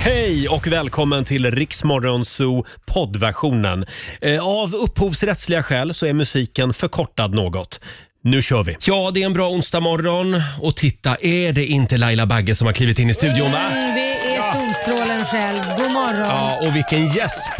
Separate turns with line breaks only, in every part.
Hej och välkommen till Riksmorgon Zoo poddversionen. Eh, Av upphovsrättsliga skäl så är musiken förkortad något. Nu kör vi! Ja, det är en bra onsdagmorgon och titta, är det inte Laila Bagge som har klivit in i studion va?
Mm, det är solstrålen själv. God morgon.
Ja, och vilken gäsp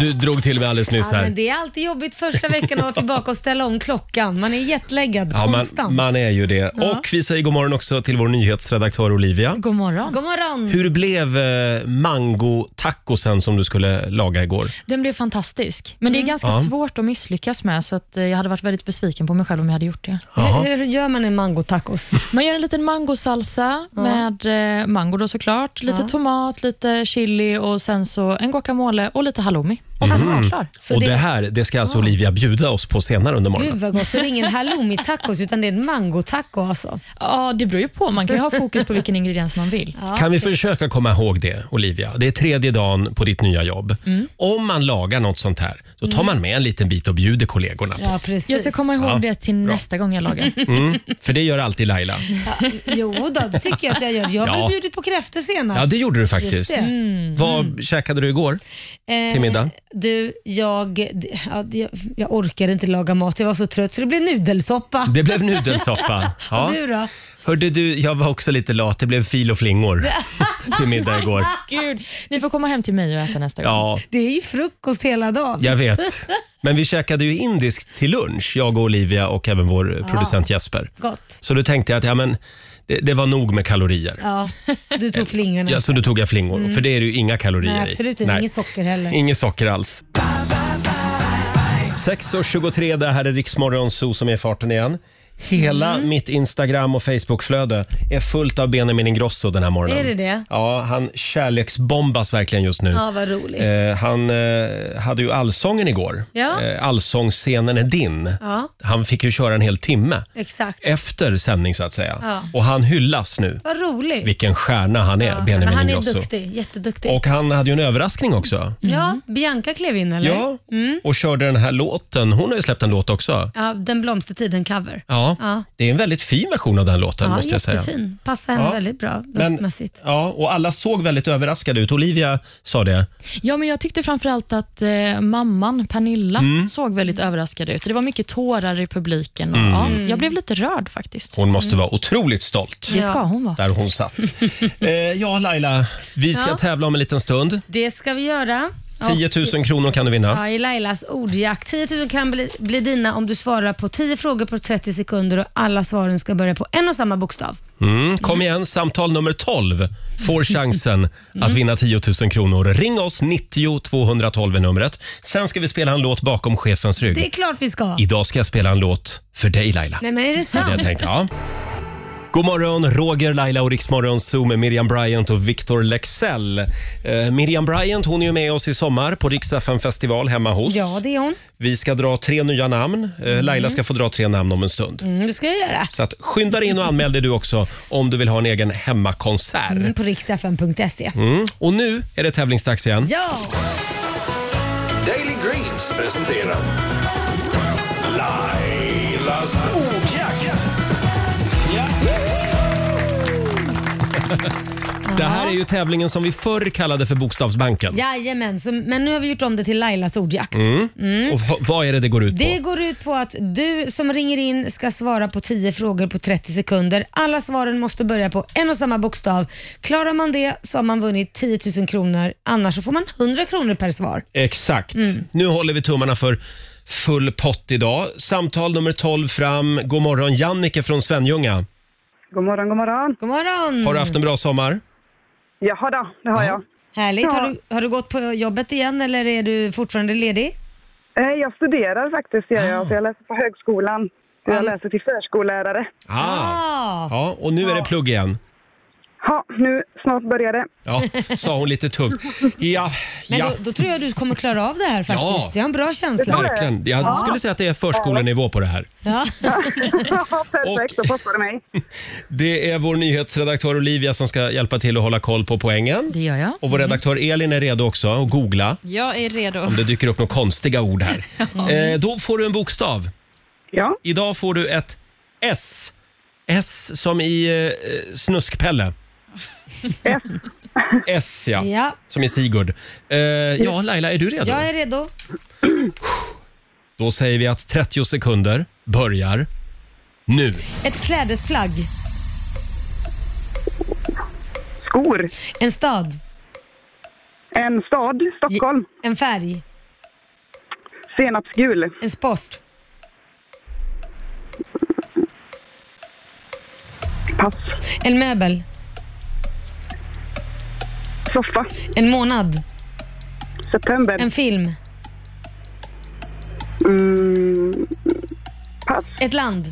du drog till med alldeles nyss
Ja, men
här.
det är alltid jobbigt första veckan att vara tillbaka och ställa om klockan. Man är jetlaggad
Ja,
konstant.
man, man är ju det. Och vi säger god morgon också till vår nyhetsredaktör Olivia.
God morgon.
God morgon.
Hur blev eh, mango-tacosen som du skulle laga igår?
Den blev fantastisk, men det är ganska
Ja.
svårt att misslyckas med, så att eh, jag hade varit väldigt besviken på mig själv om jag hade gjort det.
Jaha.
Hur, hur gör man en mangotacos?
Man gör en liten mangosalsa med eh, mango då såklart, lite
Ja.
tomat, lite chili och sen så en guacamole och lite halloumi. Och sen var den klar.
Så
Mm. och det,
det- Ah.
här det ska alltså Olivia bjuda oss på senare under morgonen.
Gud vad gott. Så det är ingen halloumi-tacos utan det är en mangotaco alltså.
Ja, det beror ju på. Man kan ju ha fokus på vilken ingrediens man vill.
Ja.
Kan vi försöka komma ihåg det, Olivia? Det är tredje dagen på ditt nya jobb.
Mm.
Om man lagar något sånt här, då tar man med en liten bit och bjuder kollegorna.
Ja, precis.
Jag ska komma ihåg
Ja,
det till nästa gång jag lagar.
Mm, för det gör alltid Laila.
Jo då, det tycker jag att jag gör. Jag har
Ja.
väl bjudit på kräftor senast.
Ja, det gjorde du
Just
faktiskt. Mm.
det.
Vad käkade du igår?
Eh,
till middag?
Du, jag, ja, jag, jag orkade inte laga mat. Jag var så trött så det blev nudelsoppa.
Det blev nudelsoppa. Ja.
Och du då?
Hörde du, jag var också lite lat. Det blev fil och flingor till middag igår.
Gud, ni får komma hem till mig och äta nästa gång.
Ja,
Det är ju frukost hela dagen.
jag vet. Men vi käkade ju indiskt till lunch, jag och Olivia och även vår producent Jesper.
Gott.
Så då tänkte jag att ja, men det, det var nog med kalorier.
Ja, du tog flingorna.
Ja, så då tog jag flingor, för det är det ju inga kalorier
Mm. Nej,
i.
absolut inte. Inget socker heller.
Inget socker alls. 6.23, det här är Riksmorgon Zoo som är i farten igen. Hela
Mm.
mitt Instagram och Facebookflöde är fullt av Benjamin Ingrosso den här morgonen.
Är det det?
Ja, han kärleksbombas verkligen just nu.
ja, vad roligt.
Eh, han eh, hade ju allsången igår.
Ja.
Eh, allsångsscenen är din.
Ja.
Han fick ju köra en hel timme
Exakt.
efter sändning så att säga.
Ja.
Och han hyllas nu.
Vad roligt.
Vilken stjärna han är,
Ja, men
Benjamin
han är
Ingrosso.
duktig. Jätteduktig.
Och han hade ju en överraskning också.
Ja, Bianca klev in eller?
Ja,
Mm.
och körde den här låten. Hon har ju släppt en låt också.
Ja, Den blomstertiden cover.
Ja,
Ja.
det är en väldigt fin version av den låten
Ja,
måste jag säga.
jättefin. Passar henne
Ja.
väldigt bra
Men-
röstmässigt.
Ja, och alla såg väldigt överraskade ut. Olivia sa det.
Ja, men jag tyckte framförallt att eh, mamman, Pernilla,
Mm.
såg väldigt överraskad ut. Det var mycket tårar i publiken. Och, ja, jag blev lite rörd faktiskt.
Mm. Hon
Mm.
måste vara otroligt stolt.
Det ska hon vara.
Där hon satt. eh, ja, Laila. Vi ska
Ja.
tävla om en liten stund.
Det ska vi göra.
10 000 kronor kan du vinna.
Ja, I Lailas ordjakt. 10 000 kan bli, bli dina om du svarar på 10 frågor på 30 sekunder och alla svaren ska börja på en och samma bokstav.
Mm, kom igen, samtal nummer 12 får chansen att
Mm.
vinna 10 000 kronor. Ring oss, 90 212 är numret. Sen ska vi spela en låt bakom chefens rygg.
Det är klart vi ska.
Idag ska jag spela en låt för dig Laila.
Nej men är det
Jag
sant?
tänkte, ja. God morgon, Roger, Laila och Riksmorgon Zoo med Miriam Bryant och Victor Lexell. Eh, Miriam Bryant hon är ju med oss i sommar på Rix FM festival hemma hos.
Ja, Mm. det är hon.
Vi ska dra tre nya namn. Eh, Laila ska få dra tre namn om en stund.
Mm, det ska jag göra.
Så att skynda dig in och anmäl dig du också om du vill ha en egen hemmakonsert.
Mm, På riksfn.se.
Mm. Och nu är det tävlingsdags igen.
Ja!
Daily Greens presenterar Lailas ordjakt.
Det här är ju tävlingen som vi förr kallade för Bokstavsbanken.
Jajamän, så, men nu har vi gjort om det till Lailas ordjakt.
Mm. Och v- vad är det det går ut på?
Det går ut på att du som ringer in ska svara på 10 frågor på 30 sekunder. Alla svaren måste börja på en och samma bokstav. Klarar man det så har man vunnit 10 000 kronor, annars så får man 100 kronor per svar.
Exakt.
Mm.
Nu håller vi tummarna för full pott idag. Samtal nummer 12 fram. God morgon Jannike från Svenljunga.
God morgon, god morgon.
God morgon!
Har du haft en bra sommar?
Jaha då, det har jag.
Härligt. Har,
Ja.
du, har du gått på jobbet igen eller är du fortfarande ledig?
Eh, Jag studerar faktiskt, gör jag, så jag läser på högskolan. Så
Ja.
jag läser till förskollärare.
Ah.
Ah.
Ja, och nu är det plugg igen.
Ja, nu snart börjar det.
Ja, sa hon lite tungt. Ja,
Men
ja.
då, då tror jag du kommer klara av det här faktiskt.
Ja.
Jag har en bra känsla.
Verkligen. Jag skulle säga att det är förskolenivå på det här.
Ja.
Ja, Perfekt, då passar det mig.
Det är vår nyhetsredaktör Olivia som ska hjälpa till att hålla koll på poängen.
Det gör jag.
Och vår redaktör Elin är redo också att googla
Mm. Jag är redo.
om det dyker upp några konstiga ord här. Eh, då får du en bokstav.
Ja,
Idag får du ett S. S som i eh, snuskpelle.
S.
S ja.
Ja.
Som är Sigurd. Eh, ja, Laila, är du redo?
Jag är redo.
Då säger vi att 30 sekunder börjar nu.
Ett klädesplagg.
Skor.
En stad.
En stad, Stockholm.
En färg.
Senapsgul.
En sport.
Pass.
En möbel.
Soffa.
En månad.
September.
En film.
Mm. Pass.
Ett land.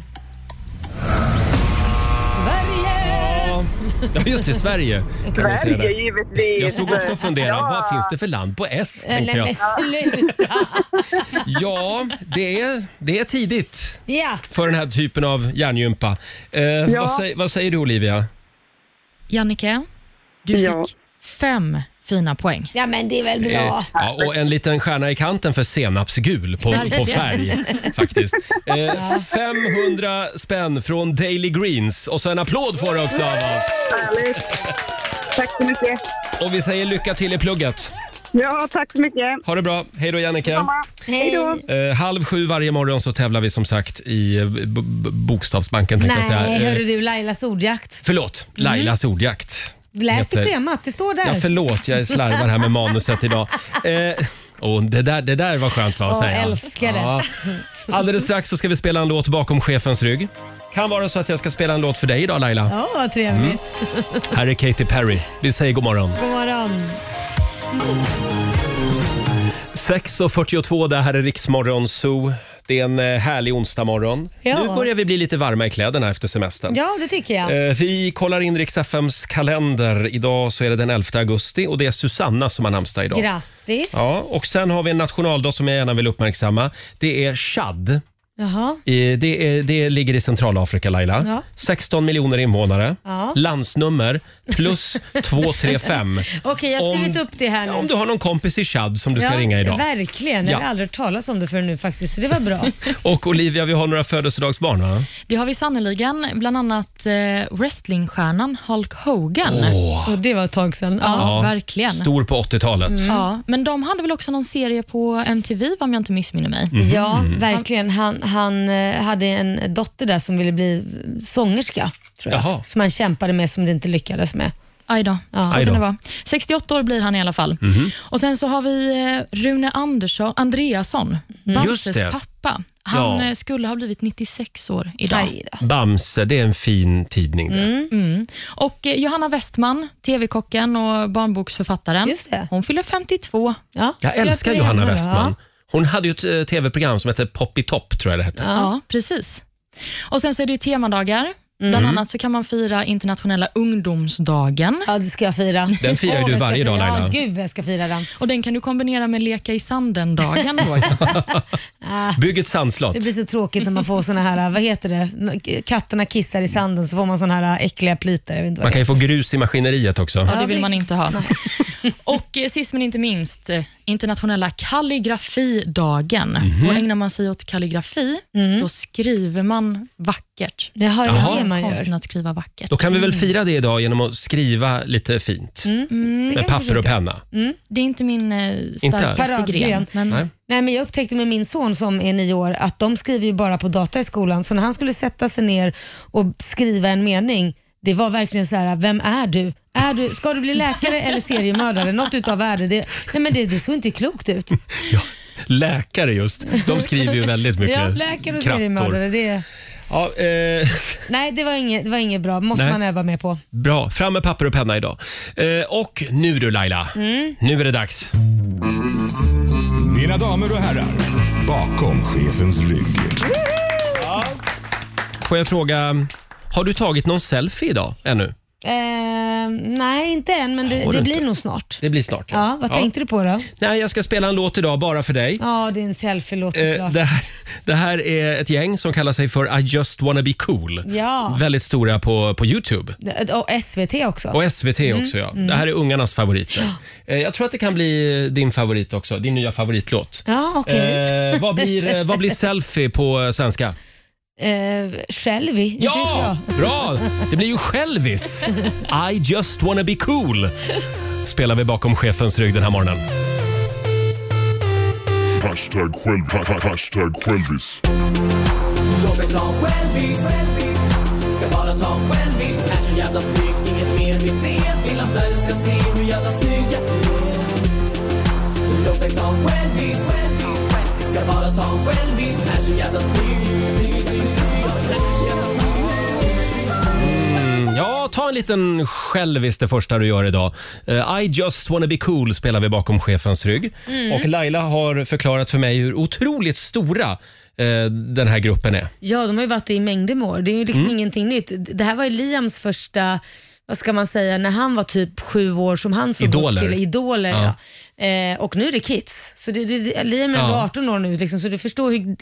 Sverige!
Ja, ja, just det. Sverige. Kan man säga
Sverige,
där.
givetvis.
Jag stod också och funderade.
Ja.
Vad finns det för land på S? Tänkte
Eller
jag.
men sluta!
Ja, det är, det är tidigt
Ja,
för den här typen av hjärngympa. Eh, vad, säger, vad säger du Olivia?
Jannike, du fick
Ja.
fem fina poäng.
ja men det är väl
Eh,
bra.
ja, och en liten stjärna i kanten för senapsgul på, på färg faktiskt. Eh, 500 spänn från Daily Greens och så en applåd får du också av oss.
Eh, Härligt. Tack så mycket.
Och vi säger lycka till i plugget.
Ja, tack så mycket.
Ha det bra. Hej då Jannike.
Mamma. Hej då.
Eh, halv sju varje morgon så tävlar vi som sagt i eh, b- b- Bokstavsbanken tänkte jag säga.
Nej,
Eh,
hörru du Lailas ordjakt.
Förlåt, Lailas ordjakt.
Mm. Läs i
Heter-
schemat, det står
Ja,
där.
förlåt, eh, jag slarvar här med manuset idag. Eh, åh, det, där, det där var skönt va, att
Åh,
säga.
älskar det.
Alldeles strax så ska vi spela en låt bakom chefens rygg. Kan vara så att jag ska spela en låt för dig idag Laila.
Ja, vad trevligt.
Mm. Här är Katy Perry. Vi säger god morgon.
God morgon.
6.42, det här är Riksmorgon Zoo. Det är en eh, härlig onsdagmorgon.
Ja.
Nu börjar vi bli lite varma i kläderna efter semestern.
Ja, det tycker jag.
Eh, Vi kollar in Rix FMs kalender. Idag så är det den 11 augusti och det är Susanna som har namnsdag idag.
Grattis.
Ja, och sen har vi en nationaldag som jag gärna vill uppmärksamma. Det är Chad. Eh,
Jaha.
Det, är, det ligger i Centralafrika, Laila.
Ja.
16 miljoner invånare.
Ja.
Landsnummer plus 235.
Okej, jag har
Om-
skrivit upp det här nu.
Om du har någon kompis i Chad som du ska
ja,
ringa idag.
Verkligen, jag
Ja.
har aldrig hört talas om det förrän nu faktiskt, så det var bra.
Och Olivia, vi har några födelsedagsbarn va?
Det har vi sannoliken, bland annat eh, wrestlingstjärnan Hulk Hogan.
Och det var ett tag sedan. Ja.
Ja, verkligen.
Stor på 80-talet.
Mm.
Ja, men de hade väl också någon serie på MTV om jag inte missminner mig.
Mm-hmm.
Ja, verkligen. Han, han eh, hade en dotter där som ville bli sångerska, tror jag.
Jaha.
Som han kämpade med, som det inte lyckades med.
Aj då, så
Aj då. Mhm.
kan det vara. 68 år blir han i alla fall. Och Sen så har vi eh, Rune Andersson, Andreasson,
Mm. Just
Bamses
det.
pappa. Han
Ja.
eh, skulle ha blivit 96 år idag.
Aj då.
Bamse, det är en fin tidning det.
Mm.
Och eh, Johanna Westman, tv-kocken och barnboksförfattaren,
Just det.
hon fyller 52.
Ja.
Jag älskar
Gratulerar
Johanna
henne då,
Westman. Hon hade ju ett eh, tv-program som hette Poppy Top, tror jag det hette.
Ja. precis. Och Sen så är det ju temadagar.
Mm.
Bland annat så kan man fira internationella ungdomsdagen.
Ja, det ska jag fira.
Den firar ju
Åh,
du
jag ska
varje dag,
fira.
Laila.
Ja, gud jag ska fira den.
Och Den kan du kombinera med leka i sanden-dagen. Roger.
Bygg ett sandslott.
Ah. Det blir så tråkigt när man får såna här, vad heter det, katterna kissar i sanden så får man såna här äckliga plitor. Jag vet inte vad
Man
det
kan ju få grus i maskineriet också.
Ja, det vill
det-
man inte ha. Och eh, sist men inte minst, eh, internationella kalligrafidagen.
Mhm.
Då ägnar man sig åt kalligrafi, då skriver man vackert.
är. Jaha, Mm. det
Jaha.
är det man gör.
Konsten att skriva vackert.
Då kan vi
Mm.
väl fira det idag genom att skriva lite fint. Med papper och penna.
Mm.
Det är inte min eh, starkaste
Paradgren.
gren.
Nej.
Men,
Nej, men jag upptäckte med min son som är nio år att de skriver ju bara på data i skolan. Så när han skulle sätta sig ner och skriva en mening, det var verkligen så här, vem är du? Är du ska du bli läkare eller seriemördare? Något utav värde. Det, nej men det, det såg inte klokt ut.
Läkare just. De skriver ju väldigt mycket
Ja, läkare och
krattor.
seriemördare, det,
Ja, eh,
nej, det, var inget, det var inget bra. måste
Nej.
man öva med på.
bra, fram med papper och penna idag. Eh, och nu du Laila,
Mm.
nu är det dags.
Mina damer och herrar, bakom chefens rygg.
Får jag fråga, har du tagit någon selfie idag ännu?
Eh, nej, inte än, men det,
Har du
det blir
inte?
nog snart.
Det blir snart.
Ja, vad tänkte du på då?
Nej, jag ska spela en låt idag bara för dig.
Ja, det är en selfie-låt
Eh,
såklart.
det, här, det här är ett gäng som kallar sig för I just wanna be cool.
Ja.
Väldigt stora på, på Youtube.
Det- Och SVT också.
Och SVT också ja. Det här är ungarnas favoriter. Eh, jag tror att det kan bli din favorit också, din nya favoritlåt.
Ja, okej.
Eh, vad, blir, eh, vad blir selfie på eh, svenska?
eh, Shelby. inte vet
Ja,
jag.
bra! Det blir ju Självis. I just wanna be cool spelar vi bakom chefens rygg den här morgonen.
Hashtag själv, ha- ha- hashtag självis.
Robert ta en självis Ska bara ta en självis Är så jävla snygg, inget mer med det Vill att världen ska se hur jävla snygg jag är Robert ta en självis Ska bara ta en självis Är så jävla snygg, snygg, snygg, snygg Jävla
Mm, Ja, ta en liten självis det första du gör idag. Eh, I just wanna be cool spelar vi bakom chefens rygg. Och Laila har förklarat för mig hur otroligt stora eh, den här gruppen är.
Ja, de har ju varit det i mängder med år. Det är ju
Mm.
liksom ingenting nytt. Det här var ju Liams första, vad ska man säga, när han var typ sju år som han såg
Idoler.
upp till. Idoler.
Ja.
Ja. Eh, och nu är det kids. Så det, det, Liam är ändå
Ja.
18 år nu, liksom, så du förstår hur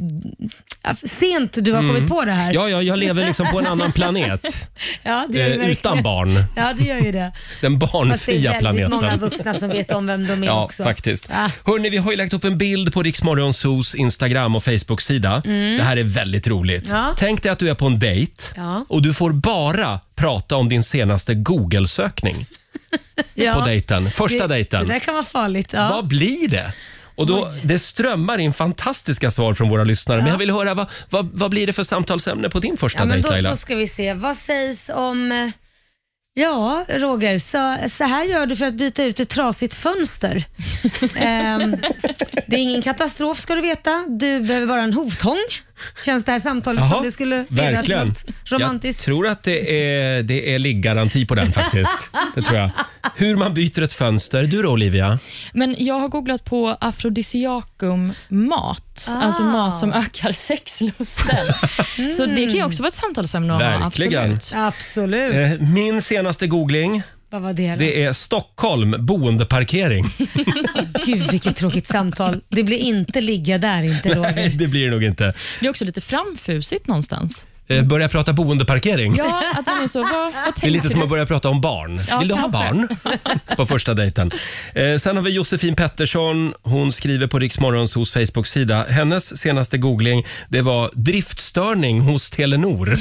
ja, sent du har kommit på det här.
Mm. Ja, ja, jag lever liksom på en annan planet.
Ja, det
Eh,
gör du verkligen.
utan barn.
Ja, det gör ju det.
Den
Fast det är
barnfria
väldigt
planeten.
många vuxna som vet om vem de är
Ja,
också.
faktiskt.
Ja.
Hörni, vi har ju lagt upp en bild på Riksmorgonsos Instagram och Facebook-sida. Det här är väldigt roligt.
Mm. Ja.
Tänk dig att du är på en dejt
Ja.
och du får bara prata om din senaste Google-sökning
Ja.
på dejten. Första
Det-
dejten.
Det där kan vara farligt. Ja.
Vad blir det? Och då, det strömmar in fantastiska svar från våra lyssnare. Men jag vill höra, vad, vad, vad blir det för samtalsämne på din första
Ja, men
dejt
då,
Laila?
då ska vi se. Vad sägs om... eh, Ja, Roger, så, så här gör du för att byta ut ett trasigt fönster. Ehm, det är ingen katastrof ska du veta. Du behöver bara en hovtång. Känns det här samtalet
Jaha,
som Alltså, det skulle leda till
verkligen.
något
Jag
romantiskt?
tror att det är, det är liggaranti på den faktiskt. Det tror jag. Hur man byter ett fönster. Du då Olivia?
Men jag har googlat på afrodisiakum-mat,
Ah.
alltså mat som ökar sexlusten.
Mm.
Så det kan ju också vara ett samtalsämne att ha,
Verkligen.
absolut.
Absolut.
Eh, Min senaste googling,
Vad var det då?
det är Stockholm boendeparkering.
Gud, vilket tråkigt samtal. Det blir inte ligga där inte, Roger.
Nej, det blir det nog inte.
Det är också lite framfusigt någonstans.
Eh, Börja prata boendeparkering.
Ja, att man är så, vad, vad
Det är lite
tänkte
som
du?
att börja prata om barn.
Ja,
Vill du ha
kanske.
barn? På första dejten. Eh, sen har vi Josefin Pettersson. Hon skriver på Riksmorgons hos Facebook-sida. Hennes senaste googling det var driftstörning hos Telenor.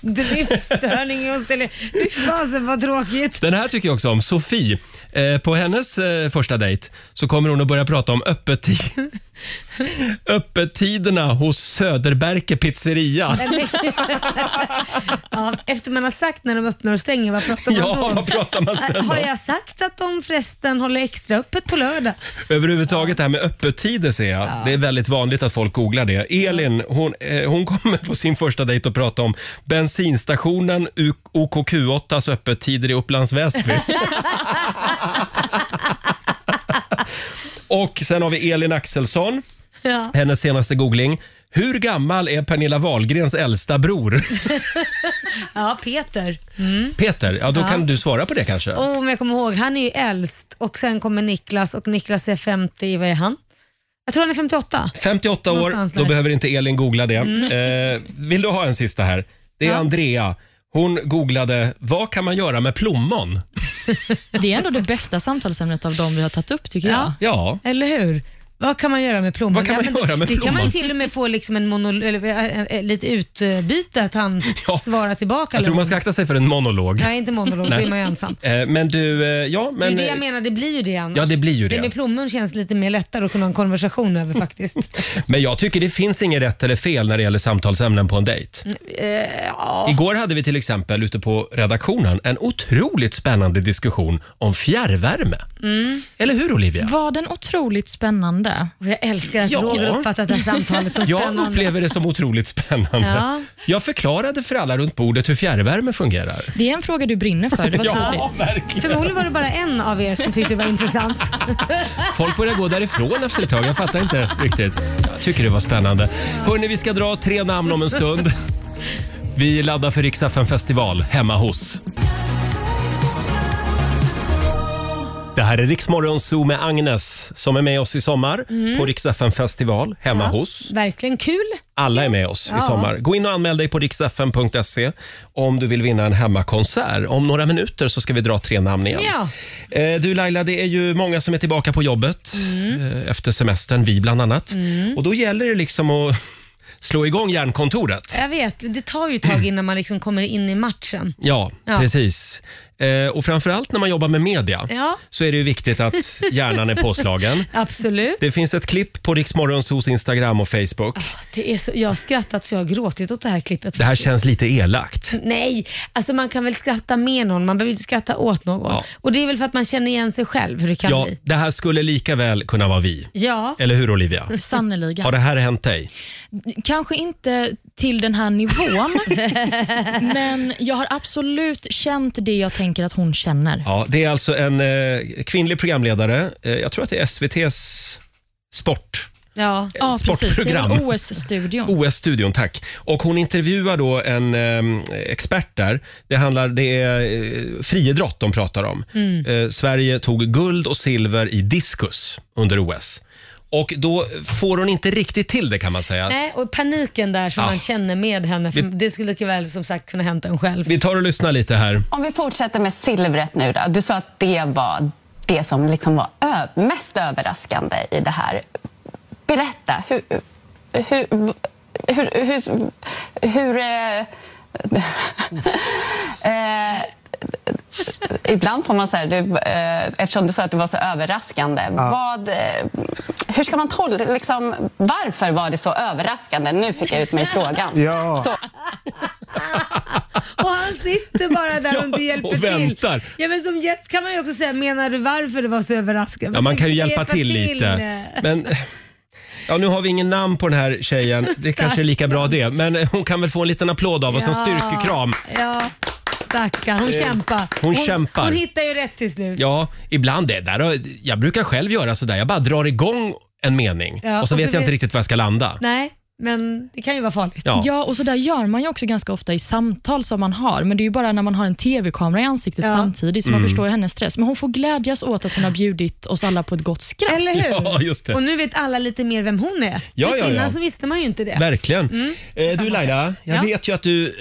Driftstörning hos Tele... Fy fasen vad tråkigt.
Den här tycker jag också om. Sofie. Eh, på hennes eh, första dejt så kommer hon att börja prata om öppettiderna öppettiderna hos Söderberke pizzeria.
Ja, efter man har sagt när de öppnar och stänger, vad pratar man
Ja,
då?
vad pratar man sen
Har
om?
jag sagt att de förresten håller extra öppet på lördag?
Överhuvudtaget det här med öppettider ser jag. Det är väldigt vanligt att folk googlar det. Elin, hon, eh, hon kommer på sin första dejt att prata om bensinstationen U- OKQ8s öppettider i Upplands Väsby. Och sen har vi Elin Axelsson,
Ja.
hennes senaste googling. Hur gammal är Pernilla Wahlgrens äldsta bror?
ja, Peter.
Peter, ja då kan du svara på det kanske.
Och om jag kommer ihåg, han är ju äldst och sen kommer Niklas och Niklas är 50, vad är han? Jag tror han är 58.
58 år,
Någonstans
då
där. Mm.
behöver inte Elin googla det. Eh, vill du ha en sista här? Det är
Ja.
Andrea. Hon googlade “Vad kan man göra med plommon?”
Det är ändå det bästa samtalsämnet av de vi har tagit upp, tycker jag.
Ja.
Ja,
Eller hur? Vad kan man göra med plommon?
Vad kan man
Ja, men
göra med
det kan man
plommon?
ju till och med få liksom en monol- eller, eh, eh, eh, lite utbyte, att han
Ja.
svarar tillbaka.
jag
eller
tror man ska
något.
akta sig för en monolog.
Nej, inte monolog, då
Nej.
är man ju ensam.
Eh, men du, eh, ja
Det är
men...
det jag menar, det blir ju det annars.
Ja, det blir ju det.
Det med plommon känns lite mer lättare att kunna ha en konversation över faktiskt.
Men jag tycker det finns inget rätt eller fel när det gäller samtalsämnen på en dejt.
Mm, eh,
Igår hade vi till exempel ute på redaktionen en otroligt spännande diskussion om fjärrvärme.
Mm.
Eller hur Olivia?
Var den otroligt spännande?
Och jag älskar att
Ja.
Roger uppfattat det här samtalet som
Jag
spännande.
upplever det som otroligt spännande.
Ja.
Jag förklarade för alla runt bordet hur fjärrvärme fungerar.
Det är en fråga du brinner för, det var tydligt.
verkligen.
Förmodligen var det bara en av er som tyckte det var intressant.
Folk började gå därifrån efter ett tag. Jag fattar inte riktigt. Jag tycker det var spännande. Hörni, vi ska dra tre namn om en stund. Vi laddar för Riksaffen festival hemma hos. Det här är Riksmorgon Zoo med Agnes som är med oss i sommar på Rix FM festival hemma hos.
Verkligen kul.
Alla är med oss i
Ja.
sommar. Gå in och anmäl dig på riksfm.se om du vill vinna en hemmakonsert. Om några minuter så ska vi dra tre namn igen.
Ja.
Eh, Du Laila, det är ju många som är tillbaka på jobbet
Mm.
eh, efter semestern, vi bland annat. Och då gäller det liksom att slå igång hjärnkontoret.
Jag vet, det tar ju ett tag innan man liksom kommer in i matchen.
Ja,
Ja.
precis. Eh, Och framförallt när man jobbar med media
Ja.
så är det ju viktigt att hjärnan är påslagen.
Absolut.
Det finns ett klipp på Riksmorgonsos Instagram och Facebook.
Ah, Det är så, jag har skrattat så jag har gråtit åt det här klippet.
Det här känns lite elakt.
Nej, alltså man kan väl skratta med någon, man behöver ju inte skratta åt någon.
Ja.
Och det är väl för att man känner igen sig själv hur det kan
Ja, Eh,
bli.
det här skulle lika väl kunna vara vi.
Ja,
Eller hur Olivia?
Sannerligen.
Har det här hänt dig?
Kanske inte till den här nivån, men jag har absolut känt det jag tänker att hon känner.
Ja, det är alltså en eh, kvinnlig programledare. Eh, jag tror att det är SVT's sport.
ja.
Ja, precis. Det är
sportprogram. Oh.
väl OS-studion.
OS-studion, tack. Och hon intervjuar då en eh, expert där. Det handlar, det är eh, friidrott de pratar om.
Mm.
Eh, Sverige tog guld och silver i diskus under OS. Och då får hon inte riktigt till det kan man säga.
Nej, och paniken där som
Ah.
man känner med henne, för det skulle lika väl som sagt kunna hända en själv.
Vi tar och lyssnar lite här.
Om vi fortsätter med silvret nu då. Du sa att det var det som liksom var ö- mest överraskande i det här. Berätta, hur... Hur... Hur... hur, hur eh, eh, Ibland får man säga, det, eh, eftersom du sa att det var så överraskande, vad, eh, hur ska man tolka, liksom, varför var det så överraskande? Nu fick jag ut mig i frågan.
Ja.
Så,
Och han sitter bara där och inte
Ja,
hjälper
och väntar.
till. Ja, men som gäst kan man ju också säga, menar du varför det var så överraskande?
Ja, man kan ju
Försök
hjälpa till lite.
eh.
Men, ja, nu har vi ingen namn på den här tjejen. Det kanske är lika bra det. Men eh, hon kan väl få en liten applåd av oss, en
Ja.
styrkekram. Eh,
Ja, stackarn. Hon kämpar.
hon kämpar.
Hon hittar ju rätt till slut.
Ja, ibland det. Där, har- jag brukar själv göra sådär. Jag bara drar igång en mening
Ja,
och så
och så
vet jag inte
vet-
riktigt var jag ska landa.
Nej, men det kan ju vara farligt.
Ja.
Ja, och så där gör man ju också ganska ofta i samtal som man har, men det är ju bara när man har en TV-kamera i ansiktet
Ja.
samtidigt, så
Mm.
man förstår ju hennes stress. Men hon får glädjas åt att hon har bjudit oss alla på ett gott skratt.
Eller hur?
Ja, just det.
Och nu vet alla lite mer vem hon är.
Ja,
För
ja,
innan
ja.
så visste man ju inte det.
Verkligen. eh, du Laila, jag
Mm. Ja.
vet ju att du,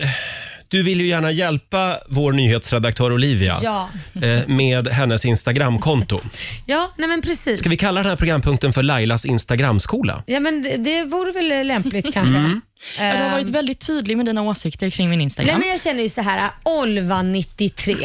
du vill ju gärna hjälpa vår nyhetsredaktör Olivia
Ja.
eh, med hennes Instagramkonto.
Ja, nej men precis.
Ska vi kalla den här programpunkten för Lailas Instagramskola?
Ja, men det, det vore väl lämpligt
Mm.
kanske.
Ja, Du har
Ehm,
varit väldigt tydlig med dina åsikter kring min
Nej,
Instagram.
men jag känner ju så här, Olva 93.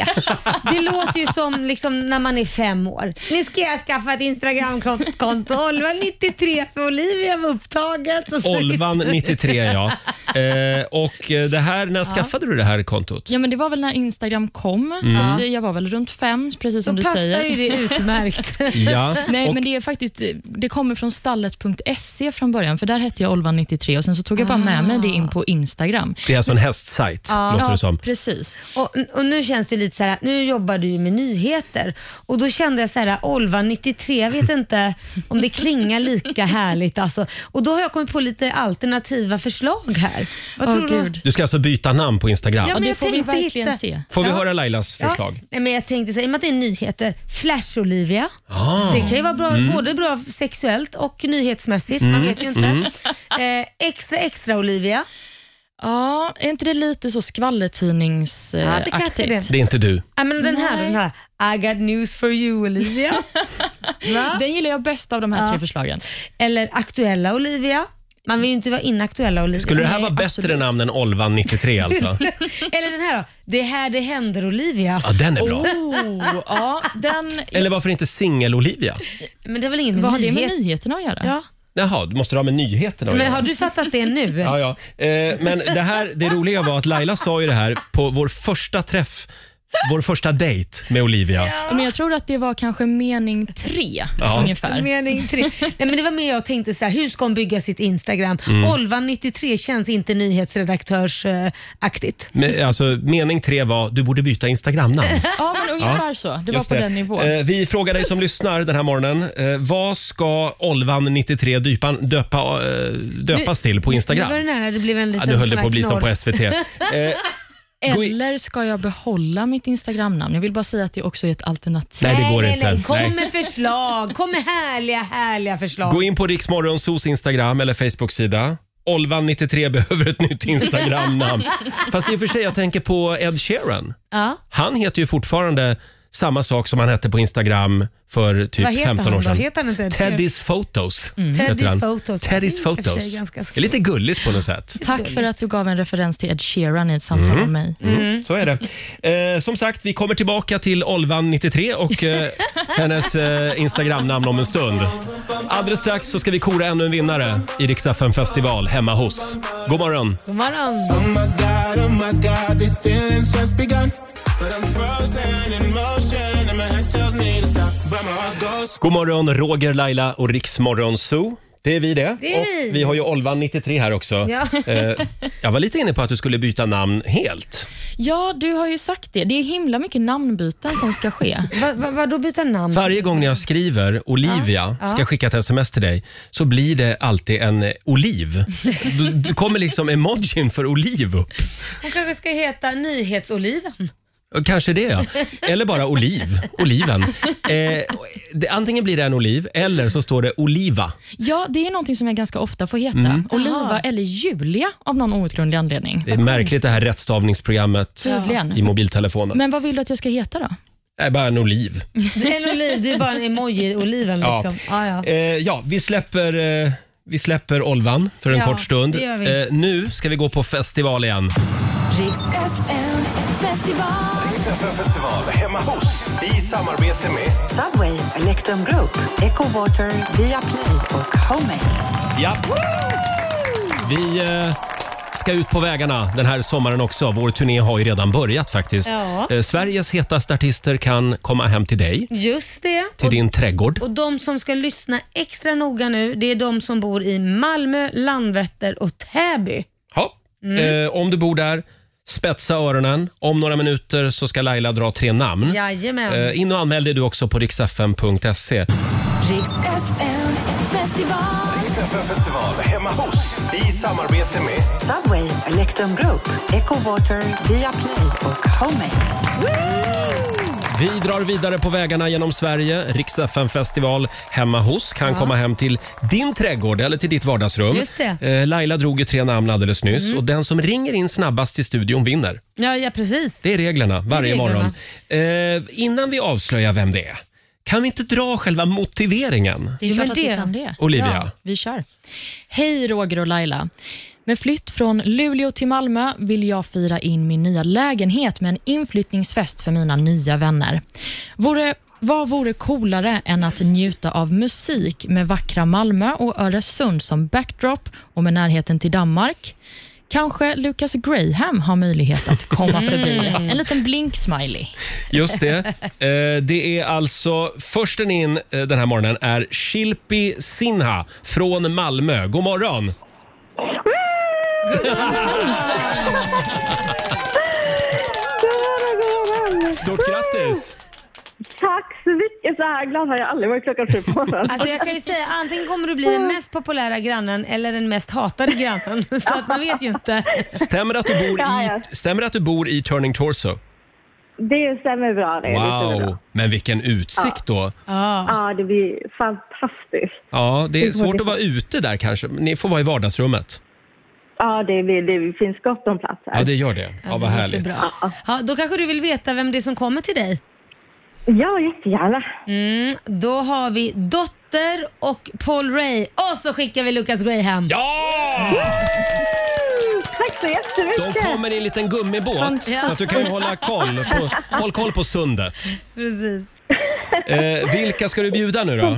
Det låter ju som liksom när man är fem år. Nu ska jag skaffa ett Instagramkonto, Olva 93 för Olivia var upptaget. Och så
Olvan 93 ja. Eh, och eh, det här, när skaffade du det här kontot?
Ja, men det var väl när Instagram kom, så
Mm.
att jag var väl runt fem, precis
så
som du
passar
säger.
ju det utmärkt.
Ja.
Nej,
och,
men det är faktiskt Det kommer från stallet.se från början, för där hette jag Olvan93 och sen så tog jag bara med mig det in på Instagram.
det är alltså en hästsajt, låter det som.
precis.
Och, och nu känns det lite så här, nu jobbar du ju med nyheter och då kände jag så här, Olva 93, jag vet inte om det klingar lika härligt alltså. Och då har jag kommit på lite alternativa förslag här. Vad
Åh,
tror du?
gud.
Du ska alltså byta namn på Instagram.
Ja, men
det
jag
får vi
tänkte
verkligen
hitta-
se.
Får vi
Ja.
höra Lailas förslag?
Ja, nej, men jag tänkte säga, i och med att det är nyheter, Flash-Olivia.
Ah.
Det kan ju vara bra,
Mm.
både bra sexuellt och nyhetsmässigt, man vet ju inte.
Mm.
Eh, extra extra Olivia.
Ja, är inte det lite så
Ja, det kanske
skvallertidningsaktigt?
det är.
Det är inte du.
Ja, men den här,
Nej.
den här, I got news for you Olivia. Va?
Den gillar jag bäst av de här
Ja.
tre förslagen.
Eller aktuella Olivia. Man vill ju inte vara inaktuella Olivia.
Skulle det här
Nej,
vara bättre
absolut.
namn än Olvan 93 alltså?
Eller den här då. Det är här det händer Olivia.
Ja, den är bra.
Oh, ja, den,
Eller varför inte Singel-Olivia?
Men det är väl ingen
vad har det
nyhet?
med nyheterna att göra?
Ja.
Jaha, du måste ha med nyheterna att
Men
göra.
har du fattat det nu?
Ja, ja. Eh, men det, här, det roliga var att Laila sa ju det här på vår första träff, vår första dejt med Olivia.
Men jag tror att det var kanske mening tre,
Ja.
ungefär.
Mening tre. Nej, men det var mer jag tänkte så här, hur ska hon bygga sitt Instagram?
Mm.
Olvan 93 känns inte nyhetsredaktörsaktigt.
Men, alltså, mening tre var du borde byta Instagramnamn.
Ja, men ungefär så. Det var
Just
på den nivån.
Eh, vi frågar dig som lyssnar den här morgonen. Eh, vad ska Olvan 93 dypan, döpa, eh, döpas till på
Nu var det
Instagram?
nära, det blev en
Ja,
liten
nu höll det
sån här
på att bli som
knorr.
på SVT. Eh, Gå i-
Eller ska jag behålla mitt Instagramnamn? Jag vill bara säga att det också är ett alternativ.
Nej, det går
nej,
inte.
Nej. Kom
Nej.
med förslag. Kom med härliga, härliga förslag.
Gå in på Riksmorgonsos Instagram eller Facebook-sida. Olvan93 behöver ett nytt Instagram-namn. Fast i och för sig, jag tänker på Ed Sheeran.
Ja.
Han heter ju fortfarande samma sak som han hette på Instagram för typ
Vad heter
15
han
år
då?
sedan.
Heter han inte Ed Sheeran?
Teddy's Photos.
Mm. Teddy's
han.
Photos. Det är i
Teddy's
och för sig
Photos.
ganska
Det är lite gulligt på något sätt.
Tack för att du gav en referens till Ed Sheeran i ett samtal med mig.
Mm. Så är det. Eh, som sagt, vi kommer tillbaka till Olvan93 och eh, hennes eh, Instagramnamn om en stund. Alldeles strax så ska vi kora ännu en vinnare i Rix FM festival hemma hos. God morgon!
God morgon.
God morgon, Roger, Laila och Riksmorgon Zoo. Det är vi det.
Det är
och
vi.
vi har ju Olvan93 här också.
Ja.
Eh, jag var lite inne på att du skulle byta namn helt.
Ja, du har ju sagt det. Det är himla mycket namnbyten som ska ske.
Va, va, vadå byta namn?
Varje gång när jag skriver Olivia, ska skicka ett sms till dig, så blir det alltid en eh, oliv. Du, du kommer liksom emojin för oliv upp.
Hon kanske ska heta Nyhetsoliven.
Kanske det ja. Eller bara oliv. Oliven. Eh, det, antingen blir det en oliv eller så står det oliva.
Ja, det är någonting som jag ganska ofta får heta.
Mm.
Oliva eller Julia av någon outgrundlig anledning.
Det är märkligt det här rättstavningsprogrammet i
Tydligen.
mobiltelefonen.
Men vad vill du att jag ska heta då?
Nej, bara en oliv.
En oliv, det är bara en emoji, oliven
Ja.
liksom. Ja, ja.
Eh, ja, vi släpper, eh, vi släpper Olvan för en
Ja,
kort stund.
det gör vi.
Eh, nu ska vi gå på festival igen.
Riks FM festival.
XFM festival hemma hos i samarbete med
Subway, Electrum Group, Echo Water, Viaplay och Homemade.
Ja. Vi eh, ska ut på vägarna den här sommaren också. Vår turné har ju redan börjat faktiskt.
Ja.
Eh, Sveriges hetaste artister kan komma hem till dig,
Just det.
till din trädgård.
Och de som ska lyssna extra noga nu, det är de som bor i Malmö, Landvetter och Täby.
Ja. Eh, om du bor där, spetsa öronen. Om några minuter så ska Laila dra tre namn.
Jajamän.
Eh, in och anmäl dig du också på riksfm.se.
Riks FM festival.
XFM festival hemma hos i samarbete med
Subway, Electrum Group, Echo Water, Viaplay och Homemade.
Vi drar vidare på vägarna genom Sverige. Rix fm festival hemma hos kan komma hem till din trädgård eller till ditt vardagsrum.
Just det. Mm.
Eh, Laila drog ju tre namn alldeles nyss och den som ringer in snabbast till studion vinner.
Ja, ja, precis.
Det är reglerna varje
reglerna.
morgon. Eh, innan vi avslöjar vem det är, kan vi inte dra själva motiveringen?
Det är
Jo,
klart
men
att vi
det-
kan det.
Olivia.
Ja, vi kör. Hej Roger och Laila. Med flytt från Luleå till Malmö vill jag fira in min nya lägenhet med en inflyttningsfest för mina nya vänner. Vore, vad vore coolare än att njuta av musik med vackra Malmö och Öresund som backdrop och med närheten till Danmark? Kanske Lucas Graham har möjlighet att komma förbi. En liten blink-smiley.
Just det. Eh, det är alltså, försten in eh, den här morgonen är Shilpi Sinha från Malmö. God morgon! Stort grattis!
Tack så mycket! Så här glad har jag aldrig varit klockan sju på morgonen.
Alltså jag kan ju säga antingen kommer du bli den mest populära grannen eller den mest hatade grannen. Så att man vet ju inte.
Stämmer det att du bor
Ja,
i, stämmer det att du bor i Turning Torso?
Det stämmer bra. Det stämmer bra.
Wow, men vilken utsikt då!
Ja, det blir fantastiskt.
Ja, det är svårt att vara ute där kanske. Ni får vara i vardagsrummet.
Ja, det, blir, det finns gott om plats här.
Ja, det gör det. Ja, vad
Det låter
härligt.
bra. Ja, då kanske du vill veta vem det är som kommer till dig?
Ja, jättegärna.
Mm, då har vi Dotter och Paul Ray och så skickar vi Lucas Graham.
Ja!
Tack så
De
jättemycket!
kommer i en liten gummibåt så att du kan ju hålla koll på, håll koll på sundet.
Precis.
Eh, vilka ska du bjuda nu då?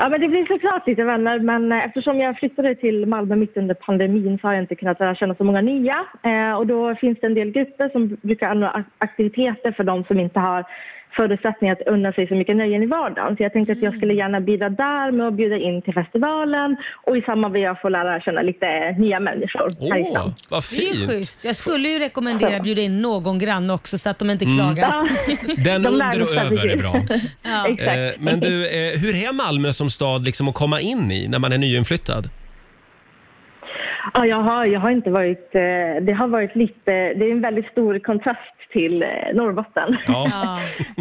Ja, men det blir såklart lite vänner, men eh, eftersom jag flyttade till Malmö mitt under pandemin så har jag inte kunnat lära känna så många nya. Eh, och då finns det en del grupper som brukar anordna ak- aktiviteter för de som inte har förutsättningar att unna sig så mycket nöjen i vardagen. Så jag tänkte att jag skulle gärna bidra där med att bjuda in till festivalen och i samma veva få lära känna lite nya människor här i
Åh,
stan.
vad
Det är ju
fint!
schysst. Jag skulle ju rekommendera att bjuda in någon granne också så att de
Mm.
inte klagar.
Ja,
Den
de
under och
närmaste
över är bra.
Ja.
Eh,
Exakt.
men du, eh, hur är Malmö som stad liksom att komma in i när man är nyinflyttad?
Ja, jag har, jag har inte varit... eh, Det har varit lite... Det är en väldigt stor kontrast till eh, Norrbotten.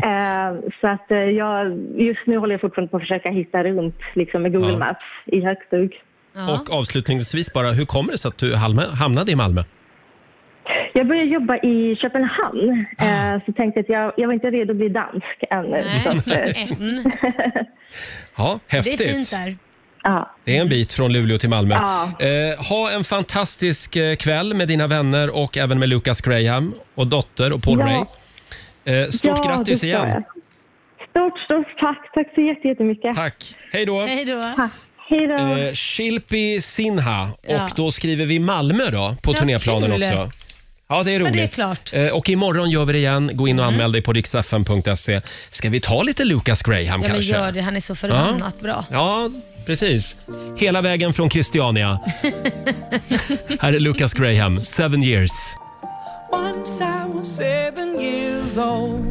Eh, Så att eh, jag, just nu håller jag fortfarande på att försöka hitta runt liksom med Google
Ja.
Maps i Högstug.
Och avslutningsvis bara, hur kommer det sig att du halma- hamnade i Malmö?
Jag började jobba i Köpenhamn,
Ah.
eh, så tänkte jag att jag, jag var inte redo att bli dansk ännu. Så att, eh,
Ja, häftigt.
där. Ja.
Det är en bit från Luleå till Malmö.
Ja.
Eh, ha en fantastisk eh, kväll med dina vänner och även med Lucas Graham och dotter och Paul
Ja.
Ray. Eh, stort
Ja, det
grattis
ska
igen.
jag. Stort, stort tack. Tack så jätte- jättemycket.
Tack. Hej då. Hej
då.
Hej då.
Eh, Shilpi Sinha och
Ja.
då skriver vi Malmö då på
Ja,
turnéplanen
kul.
också. Ja, det är
Ja, det
roligt.
är klart.
Eh, och imorgon gör vi det igen. Gå in och anmäl dig på riksfn.se. Ska vi ta lite Lucas Graham
Ja, men
kanske?
gör det, han är så förbannat bra.
Ja, precis. Hela vägen från Christiania. Här är Lucas Graham, Seven years.
Once I was seven years old.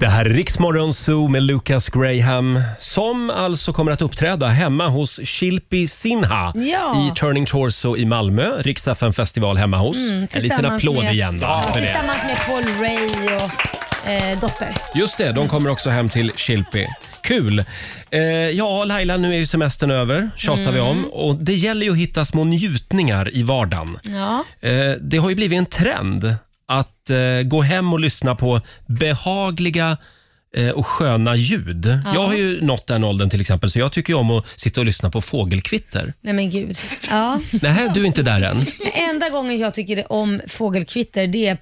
Det här är Riksmorgon Zoo med Lucas Graham som alltså kommer att uppträda hemma hos Shilpi Sinha
Ja.
i Turning Torso i Malmö, Rix FM festival hemma hos. en liten
Mm, tillsammans
applåd
med,
igen.
Ja,
va, för det.
tillsammans med Paul Ray och eh, Dotter.
Just det, de kommer också hem till Shilpi. Kul! Eh, ja, Laila, nu är ju semestern över, tjatar vi om.
Mm.
Och det gäller ju att hitta små njutningar i vardagen.
Ja.
Eh, Det har ju blivit en trend att eh, gå hem och lyssna på behagliga eh, och sköna ljud.
Ja.
Jag har ju nått den åldern till exempel, så jag tycker ju om att sitta och lyssna på fågelkvitter.
Nej men gud. Ja.
Nej, du är inte där än.
Men Enda gången jag tycker det om fågelkvitter det är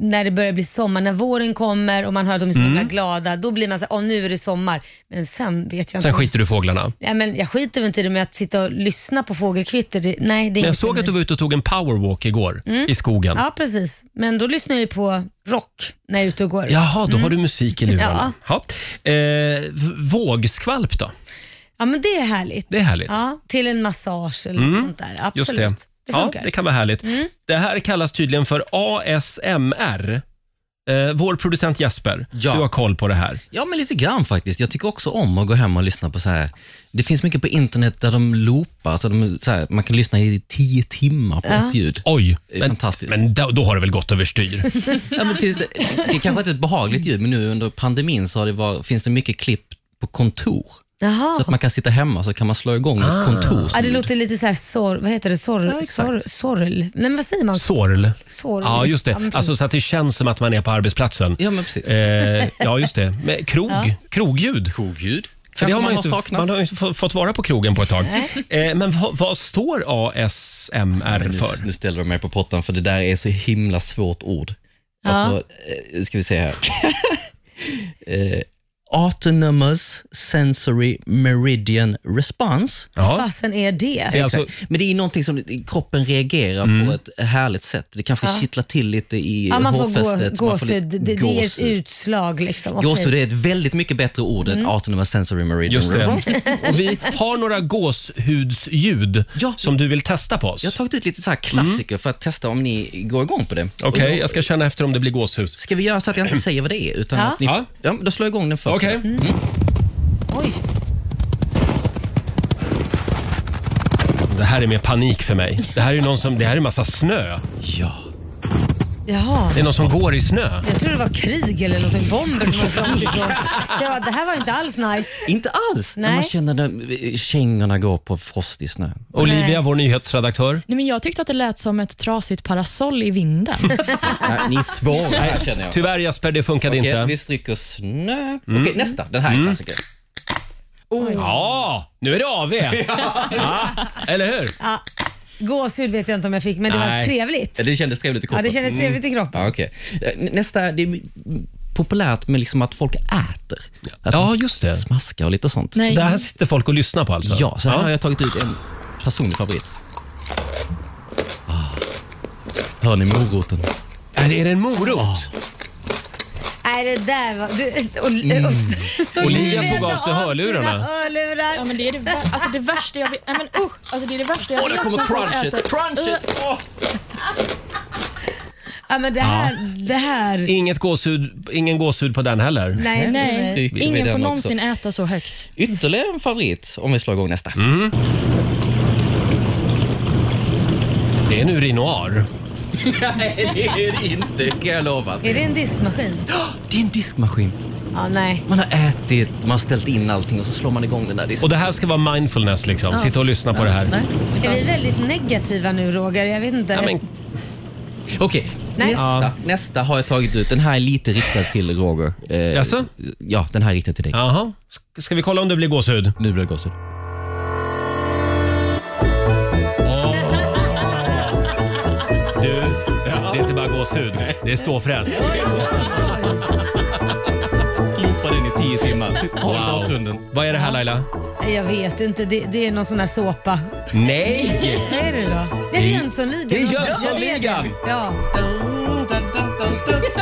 när det börjar bli sommar, när våren kommer och man hör att de är så
Mm.
himla glada. Då blir man så här, åh nu är det sommar. Men sen vet jag inte.
Sen
om-
skiter du i fåglarna.
Nej, men jag skiter väl inte i det, men att sitta och lyssna på fågelkvitter, det, nej det är
Men jag
inget för
såg att
mig.
du var ute och tog en powerwalk igår
Mm.
i skogen.
Ja, precis. Men då lyssnar jag ju på rock när jag är ute och går.
Jaha, då
Mm.
har du musik i lurarna.
Ja.
Ja. Eh, v- vågskvalp då?
Ja, men det är härligt.
Det är härligt.
Ja, till en massage eller
Mm.
något sånt där. Absolut.
Just
det.
det. ja,
funkar.
det kan vara härligt.
Mm.
Det här kallas tydligen för ASMR. Eh, vår producent Jesper, du har koll på det här.
Ja, men lite grann faktiskt. Jag tycker också om att gå hem och lyssna på så här. Det finns mycket på internet där de loopar, så de, så här, man kan lyssna i tio timmar på
Ja.
ett ljud.
Oj,
det är fantastiskt.
Men då, då har det väl gått överstyr?
ja, men tills, det är kanske inte ett behagligt ljud, men nu under pandemin så har det var, finns det mycket klipp på kontor.
Jaha.
Så att man kan sitta hemma så kan man slå igång
Ah.
ett kontor.
Ja, det låter lite så här sorr... Vad heter det? Sorr... sorr sorl? Nej, men vad säger man?
Sorl.
Sorl.
Ja, just det.
men precis.
Alltså så att det känns som att man är på arbetsplatsen.
Ja, men precis.
Eh, ja, just det. Men krog,
Ja.
krogljud.
Krogljud.
För det har
Kanske
man,
man
ju
har
inte,
saknat.
man har ju inte få- fått vara på krogen på ett tag.
Nej.
Eh, men vad, vad står ASMR
Nu,
för?
nu ställer de mig på pottan för det där är så himla svårt ord.
Ja.
Alltså, eh, ska vi se här. eh, autonomous sensory meridian response.
Vad fasen är det?
Exakt.
alltså-
Men det är någonting som kroppen reagerar
Mm.
på ett härligt sätt. Det kanske
Ja.
kittlar till lite i
ja, man får
hårfästet.
gå, gåshud. Det,
lite
det är ett
gåshud.
utslag liksom. Okej.
Gåshud är ett väldigt mycket bättre ord än
Mm.
autonomous sensory meridian
Just det.
response.
Och vi har några gåshudsljud som du vill testa på oss.
Jag har tagit ut lite så här klassiker för att testa om ni går igång på det.
Mm. Okej,
Och då-
jag ska känna efter om det blir gåshud.
Ska vi göra så att jag inte säger vad det är? Utan
Ja.
Att ni,
Ja.
ja. då slår jag igång den första.
Okej.
Oj.
Det här är mer panik för mig. Det här är ju någon som, det här är massa snö.
Ja.
Jaha.
Det är någon som går i snö.
Jag trodde det var krig eller någonting. Bomber som hade kommit ifrån. Så jag bara, det här var inte alls nice.
Inte alls!
Nej.
När man känner när eh, kängorna går på frostig snö.
Olivia, Nej. vår nyhetsredaktör.
Nej, men jag tyckte att det lät som ett trasigt parasoll i vinden.
Nej, ni är svåra här
Nej,
känner jag.
Tyvärr Jesper, det funkade
Okej,
inte. Mm.
vi stryker snö. Okej, nästa. Den här är klassiker.
Ja, nu är det AV. ja, eller hur?
Ja. Gåshud vet jag inte om jag fick, men det var
Nej.
trevligt.
Ja, Det kändes trevligt i kroppen.
Ja, det kändes trevligt i kroppen.
Ja, okej. Eh, n- Nästa, det är m- populärt med liksom att folk äter. Att
ja, just det.
Smaska och lite sånt.
Nej. Så där sitter folk och lyssnar på alltså?
Ja, så här
Ja.
har jag tagit ut en personlig favorit. Ah. Hör ni moroten?
Är det en morot?
Nej, det där var... Du, och, och,
Mm. Olivia tog av
ta
sig hörlurarna.
hörlurar.
Ja, men det är det, vär- alltså, det värsta jag vet. Nej, men usch. Alltså, det är det värsta jag
Åh, där
vet
kommer
när folk
crunchet.
äter.
Crunchet. Åh.
Ja, men det här... Det här.
Inget gåshud, ingen gåshud på den heller.
Nej, nej.
Stryker vi
Ingen
den
får
också.
någonsin äta så högt.
Mm.
Ytterligare en favorit om vi slår igång nästa.
Det är en urinoar.
Nej, det är det inte kan jag lova.
Är det en diskmaskin?
Det är en diskmaskin.
Ja, nej.
Man har ätit, man har ställt in allting och så slår man igång den där disken.
Och det här ska vara mindfulness liksom.
Ja.
Sitta och lyssna på det här.
Är vi väldigt negativa nu Roger? Jag vet inte.
Okej,
Nej.
nästa,
Ja.
nästa har jag tagit ut. Den här är lite riktad till Roger. Eh,
Jaså?
Ja, den här är riktad till dig.
Jaha. Ska vi kolla om det blir gåshud?
Nu blir det gåshud.
Du, det är inte bara gåshud. Det är ståfräs.
Loopa den i tio timmar. Håll bakgrunden.
Vad är det här Laila?
Jag vet inte, det, det är någon sån här såpa.
Nej!
Vad är det då? Det är
Det-
Jönssonligan.
det är
Jag vet
Jönssonligan.
det. Ja.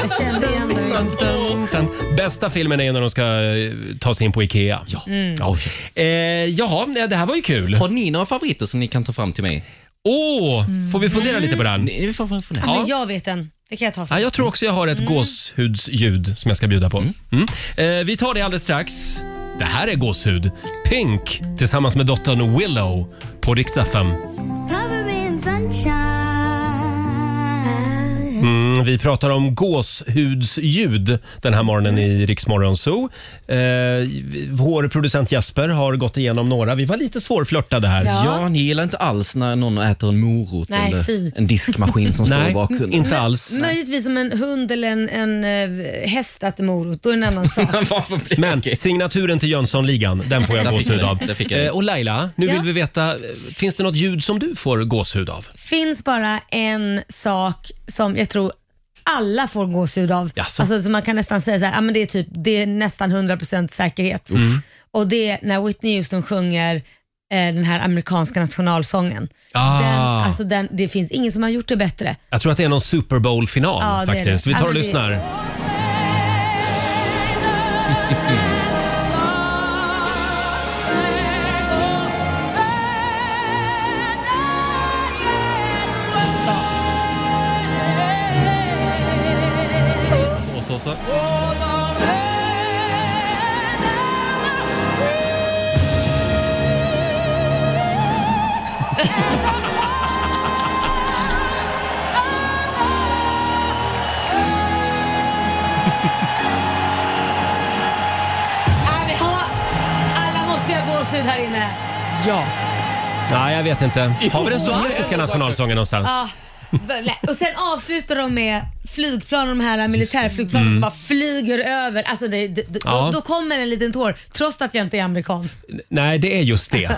Jag kände igen det.
Bästa filmen är när de ska eh, ta sig in på Ikea. Ja.
Mm.
Eh, jaha, nej, det här var ju kul.
Har ni några favoriter som ni kan ta fram till mig?
Åh, får vi
Mm.
fundera lite på den?
Nej, vi får fundera.
Ja, men jag vet den. Det kan jag ta sen.
Ja, jag tror också jag har ett gåshudsljud som jag ska bjuda på. Mm. Eh, vi tar det alldeles strax. Det här är gåshud. Pink tillsammans med dottern Willow på Rix FM.
Cover me in sunshine.
Mm, vi pratar om gåshudsljud den här morgonen i Riksmorgon Zoo. Eh, vår producent Jasper har gått igenom några. Vi var lite svårflörtade här.
Ja. ni gillar inte alls när någon äter en morot
Nej, fy.
eller en diskmaskin som står
Nej,
i bakgrunden.
inte alls.
Möjligtvis som en hund eller en, en eh, häst äter morot, då är det en annan sak.
Men signaturen till Jönssonligan, den får jag
Där fick
gåshud
jag det.
av.
Där fick jag det.
Eh, och Laila, nu
Ja.
vill vi veta, eh, finns det något ljud som du får gåshud av?
finns bara en sak som jag tror alla får gåshud av.
Jaså?
Alltså, så man kan nästan säga så här, ja, men det, är typ, det är nästan 100% säkerhet.
Mm.
Och det är när Whitney Houston sjunger eh, den här amerikanska nationalsången.
Ah.
Den, alltså den, det finns ingen som har gjort det bättre.
Jag tror att det är någon Super Bowl-final
Ja, det är
faktiskt.
det.
Vi tar
Ja,
och
men det-
lyssnar.
Så, så, så.
Ah, vi har, alla måste ju ha gåshud här inne.
Ja.
Nej, jag vet inte. Har vi den
Jo,
sovjetiska nationalsången någonstans?
Ja. Och sen avslutar de med flygplan, de här militärflygplanen
Mm.
som bara flyger över. Alltså det, det,
Ja.
då, då kommer en liten tår, trots att jag inte är amerikan.
Nej, det är just det.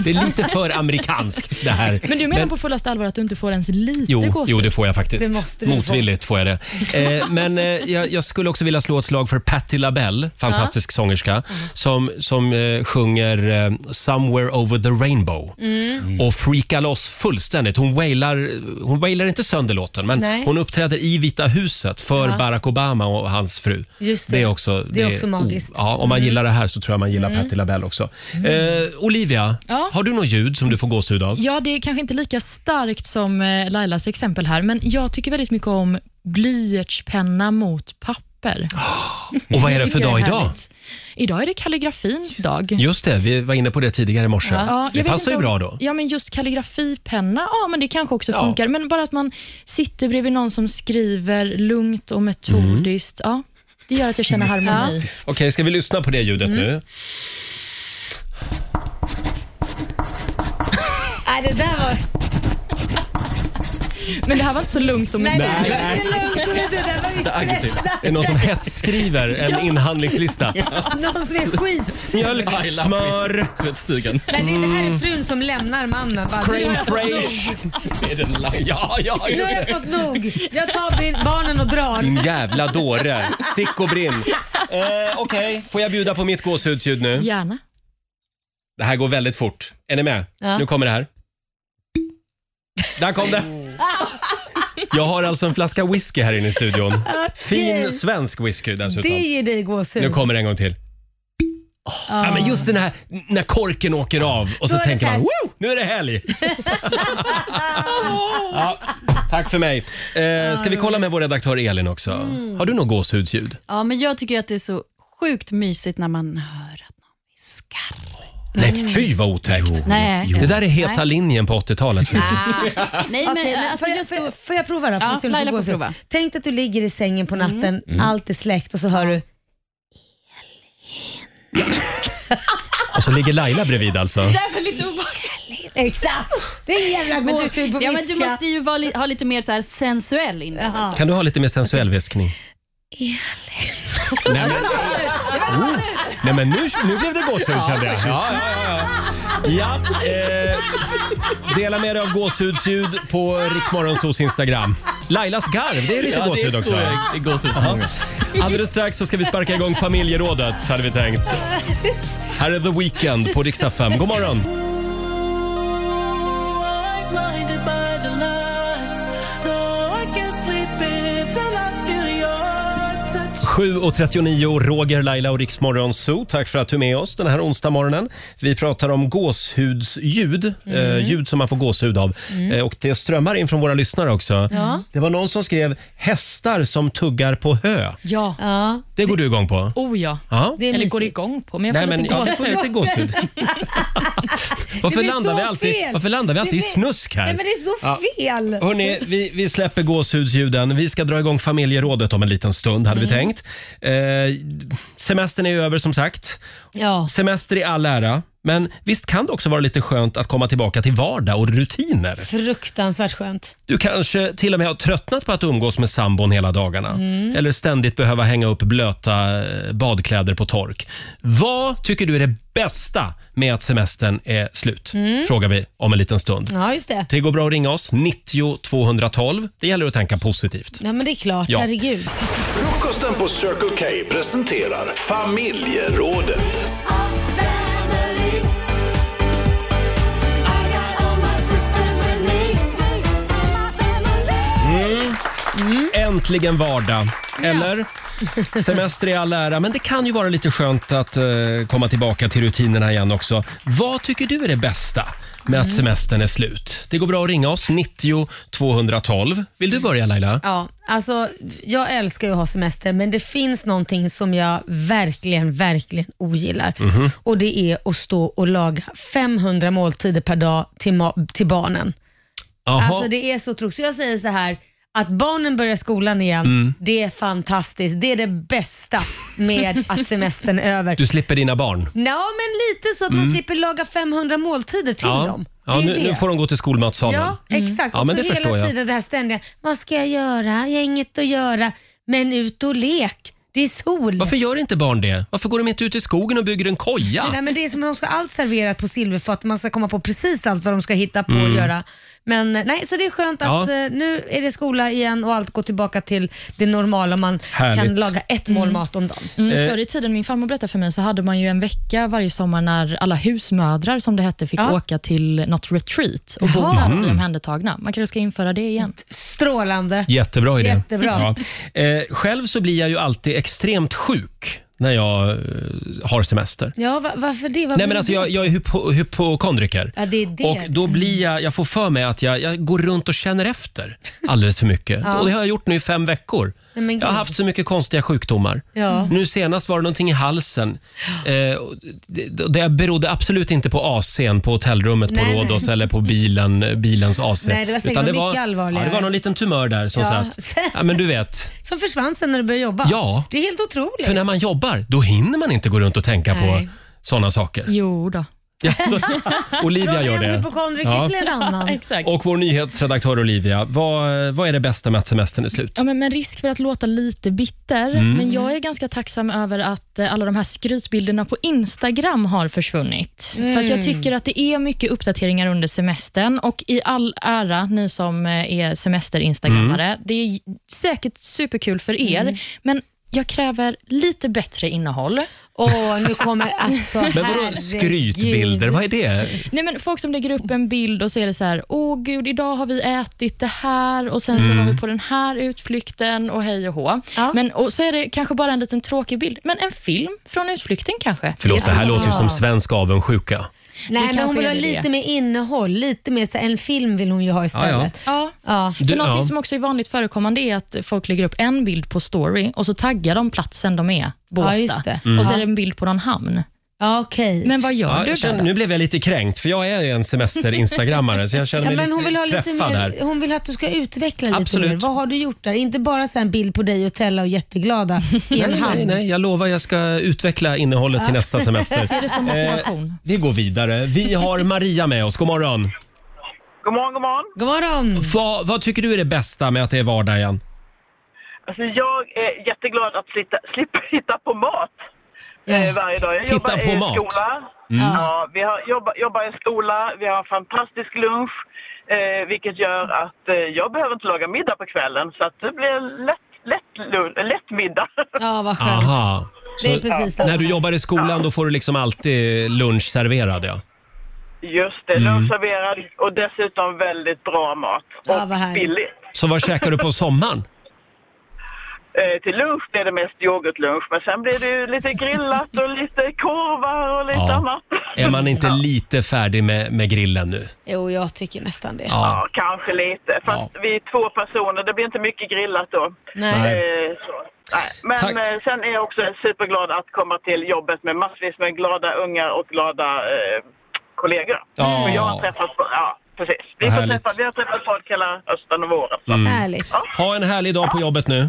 Det är lite för amerikanskt det här.
Men du menar på fullaste allvar att du inte får ens lite
Jo,
gåshud?
jo, det får jag faktiskt.
Det måste du få.
Motvilligt får jag det. Eh, men eh, jag, jag skulle också vilja slå ett slag för Patti LaBelle, fantastisk sångerska, som, som eh, sjunger eh, “Somewhere over the rainbow”
Mm.
och freakar loss fullständigt. Hon wailar, hon wailar inte sönder låten, men
Nej.
hon uppträder i Vita huset för
Ja.
Barack Obama och hans fru.
Just det.
är också,
Det är också magiskt.
oh, Ja, om man
Mm.
gillar det här så tror jag man gillar
Mm.
Patti LaBelle också. Eh, Olivia,
Ja.
har du något ljud som du får gåshud av?
Ja, det är kanske inte lika starkt som eh, Lailas exempel här, men jag tycker väldigt mycket om blyertspenna mot papper.
Och vad är det
tycker
för
jag
dag
är
idag?
härligt. Idag är det kalligrafins dag.
Just det, vi var inne på det tidigare i morse.
Ja,
det
jag vet
passar ju
inte
bra
om-
då.
Ja, men just kalligrafipenna, ja men det kanske också
Ja.
funkar. Men bara att man sitter bredvid någon som skriver lugnt och metodiskt,
Mm.
ja. Det gör att jag känner harmoni.
Okej, ska vi lyssna på det ljudet
Mm.
nu?
Nej, det där var...
Men det här var inte så lugnt och
Nej, det där
metodiskt.
var inte lugnt. och Det där var ju
Det är aggressivt.
stressat.
Det är någon som hetsskriver en
Ja.
inhandlingslista.
Någon som är skitsur.
Mjölk, smör...
Tvättstugan.
Nej, det, det här
Mm.
är frun som lämnar mannen. Bara, nu har
Creme
jag fått nog.
fraiche. Ja, ja,
Nu har jag fått nog. Jag tar bil- barnen och drar.
Din jävla dåre. Stick och brinn. Eh, Okej, får jag bjuda på mitt gåshudsljud nu?
Gärna.
Det här går väldigt fort. Är ni med?
Ja.
Nu kommer det här. Där kom det! Jag har alltså en flaska whisky här inne i studion. Fin svensk whisky dessutom.
Det ger dig gåshud.
Nu kommer det en gång till. Ja, men just den här när korken åker av och så
Ah. Då är det
tänker man
fest.
Woo, nu är det helg. ja, tack för mig. Eh, ska vi kolla med vår redaktör Elin också?
Mm.
Har du något gåshudsljud?
Ja, men jag tycker att det är så sjukt mysigt när man hör att någon viskar.
Nej, fy vad otäckt.
Nej.
Det där är heta
Nej.
linjen på 80-talet.
Nej, men,
Okej, men
alltså,
får, jag,
just
får, jag, får jag prova då? Får
Ja,
vi se om du
Laila får
gå så.
prova. Mm.
Tänk dig att du ligger i sängen på natten,
Mm.
allt är släckt och så hör du
Och så ligger Laila bredvid alltså.
Därför lite obehagligt.
Exakt. Det är en jävla
Men du-
gåshud på
Ja, men du
viska.
måste ju vara li- ha lite mer så här sensuell innan. alltså.
Kan du ha lite mer sensuell viskning? Nej men, oh, nej, men nu, nu blev det gåshud kände jag. Ja, ja, ja, ja. ja eh, dela med dig av gåshudsljud på Riksmorgonsos Instagram. Lailas garv, det är lite
Ja, det
gåshud Mm.
tror
också.
jag. Det är gåshud på
Ja.
många.
Alldeles strax så ska vi sparka igång familjerådet hade vi tänkt. Här är The Weeknd på Rix FM. God morgon!
Touch.
7.39, Roger, Laila och Riksmorgon Zoo. Tack för att du är med oss den här onsdagmorgonen. Vi pratar om gåshudsljud,
Mm.
eh, ljud som man får gåshud av.
Mm.
Eh, och det strömmar in från våra lyssnare också.
Ja.
Det var någon som skrev hästar som tuggar på hö.
Ja.
ja.
Det går du igång på?
Oh ja.
Ja.
Eller går igång på. Men jag
Nej,
får
men
lite
jag får
gåshud.
lite gåshud. Varför
blir
landar,
så
vi alltid,
fel.
varför landar vi
Det
alltid i
blir-
snusk här?
Nej, men det är så
Ja.
fel.
Hörni, vi, vi släpper gåshudsljuden. Vi ska dra igång familjerådet om en liten stund, hade vi
Mm.
tänkt. Eh, semestern är ju över som sagt.
Ja.
Semester i all ära, men visst kan det också vara lite skönt att komma tillbaka till vardag och rutiner?
Fruktansvärt skönt.
Du kanske till och med har tröttnat på att umgås med sambon hela dagarna.
Mm.
Eller ständigt behöva hänga upp blöta eh, badkläder på tork. Vad tycker du är det bästa med att semestern är slut?
Mm.
Frågar vi om en liten stund.
Ja, just det.
Det går bra att ringa oss, 90 212. Det gäller att tänka positivt.
Ja, men det är klart.
Ja.
Herregud.
Frukosten på Circle K presenterar familjerådet.
Mm. Äntligen vardag, eller? Semester i all ära, men det kan ju vara lite skönt att eh, komma tillbaka till rutinerna igen också. Vad tycker du är det bästa med att
Mm.
semestern är slut? Det går bra att ringa oss, 90 212. Vill du börja Laila?
Ja, alltså jag älskar ju att ha semester men det finns någonting som jag verkligen, verkligen ogillar.
Mhm.
Och det är att stå och laga 500 måltider per dag till, ma- till barnen.
Jaha.
Alltså det är så tråkigt. Så jag säger så här, att barnen börjar skolan igen,
Mm.
det är fantastiskt. Det är det bästa med att semestern är över.
Du slipper dina barn.
Ja, men lite så att man
Mm.
slipper laga 500 måltider till dem. Det
ja
är ju
nu,
det.
nu får de gå till skolmatsalen.
Ja, exakt.
Mm. Ja,
och
men
så
det förstår
hela
jag.
tiden det här ständiga, vad ska jag göra? Jag har inget att göra, men ut och lek. Det är sol.
Varför gör inte barn det? Varför går de inte ut i skogen och bygger en koja?
Nej, men det är som att de ska ha allt serverat på silverfat, man ska komma på precis allt vad de ska hitta på
Mm.
och göra. Men eh, nej, så det är skönt
Ja.
att eh, nu är det skola igen och allt går tillbaka till det normala. Man
Härligt.
kan laga ett mål mat om dagen.
Mm,
Eh.
förr i tiden, min farmor berättade för mig, så hade man ju en vecka varje sommar när alla husmödrar, som det hette, fick
Ja.
åka till något retreat och bo
Jaha.
där och bli
Mm.
omhändertagna. Man kanske ska införa det igen.
Strålande.
Jättebra idé.
Jättebra.
Ja. Eh, själv så blir jag ju alltid extremt sjuk när jag eh, har semester.
Ja, va- varför det? Vad
Nej men
beror
alltså
det-
jag, jag är hypo, hypokondriker.
Ja, det är det.
Och då blir jag, jag får för mig att jag, jag går runt och känner efter alldeles för mycket.
Ja.
Och det har jag gjort nu i fem veckor.
Nej, men
jag har
gud.
haft så mycket konstiga sjukdomar.
Ja.
Nu senast var det någonting i halsen. Eh, och det, det berodde absolut inte på AC'n på hotellrummet på
Nej,
Rhodos
nej.
eller på bilen, bilens AC.
Nej, det var säkert
Utan
något mycket allvarligare.
Ja, det var någon liten tumör där som
Ja.
satt. Ja, men du vet.
Som försvann sen när du började jobba.
Ja.
Det är helt otroligt.
För när man jobbar, då hinner man inte gå runt och tänka på
Nej.
sådana saker.
Jo då.
Jaså, Olivia gör det. Ja.
Exakt.
Och vår nyhetsredaktör Olivia, vad, vad är det bästa med att semestern är slut?
Ja, men med risk för att låta lite bitter,
Mm.
men jag är ganska tacksam över att eh, alla de här skrytbilderna på Instagram har försvunnit.
Mm.
För att jag tycker att det är mycket uppdateringar under semestern och i all ära, ni som eh, är semesterinstagrammare, det är j- säkert superkul för er,
Mm.
men jag kräver lite bättre innehåll.
Åh, nu kommer alltså...
Men vadå skrytbilder, vad är det?
Nej, men folk som lägger upp en bild och så är det så här, åh gud, idag har vi ätit det här och sen så
Mm.
var vi på den här utflykten och hej och hå. Men, och så är det kanske bara en liten tråkig bild, men en film från utflykten kanske.
Förlåt, det här låter ju som
Sven.
svensk avundsjuka.
Nej, men
kanske
hon vill
är
ha
det
lite
det.
mer innehåll. Lite mer så här, en film vill hon ju ha istället.
Ja.
Ja.
För
Du-
någonting
ja.
som också är vanligt förekommande är att folk lägger upp en bild på story och så taggar de platsen de är, Båstad.
Ja, just det. Mm.
Och så är
Ja.
det en bild på någon hamn.
Ja, okej.
Men vad gör
Ja,
du
jag känner,
då?
nu blev jag lite kränkt för jag är ju en semester-instagrammare så jag känner
Ja,
mig
men hon
lite
vill, ha lite
träffad
mer,
här.
hon vill att du ska utveckla
Absolut.
lite mer. Vad har du gjort där? Inte bara så här en bild på dig och Tella och jätteglada i en
Nej,
hand.
nej, nej, jag lovar jag ska utveckla innehållet till
Ja.
nästa semester.
Jag ser det
Eh,
som motivation.
vi går vidare. Vi har Maria med oss. God morgon.
God morgon, god morgon.
God morgon.
Vad, vad tycker du är det bästa med att det är vardag igen?
Alltså jag är jätteglad att slita, slippa hitta på mat eh, varje dag. Jag
Hitta
jobbar
på
i
mat.
skola.
Mm.
Ja, vi har, jobba, jobbar i skola, vi har en fantastisk lunch, eh, vilket gör att eh, jag behöver inte laga middag på kvällen, så att det blir lätt, lätt, lun- lätt middag.
Ja, vad
Aha.
Det är precis samma.
när du jobbar i skolan då får du liksom alltid lunch serverad ja.
Just
Mm.
det, lunch serverad och dessutom väldigt bra mat. Och
vad härligt.
billigt.
Så vad käkar du på sommaren?
Eh, till lunch blir det mest yoghurtlunch, men sen blir det ju lite grillat och lite korvar och lite
Ja.
annat.
Är man inte lite färdig med, med grillen nu?
Jo, jag tycker nästan det.
Ja.
Ja, kanske lite. Fast vi är två personer, det blir inte mycket grillat då.
Nej.
Nej.
Eh, så. Nej. Men eh, sen är jag också superglad att komma till jobbet med massvis med glada ungar och glada eh, kollegor.
Ja.
Och jag har träffat, ja precis. Vi,
Vad
får
härligt.
träffa, vi har träffat folk hela hösten och våren. Så.
Mm.
Härligt.
Ha en härlig dag på jobbet nu.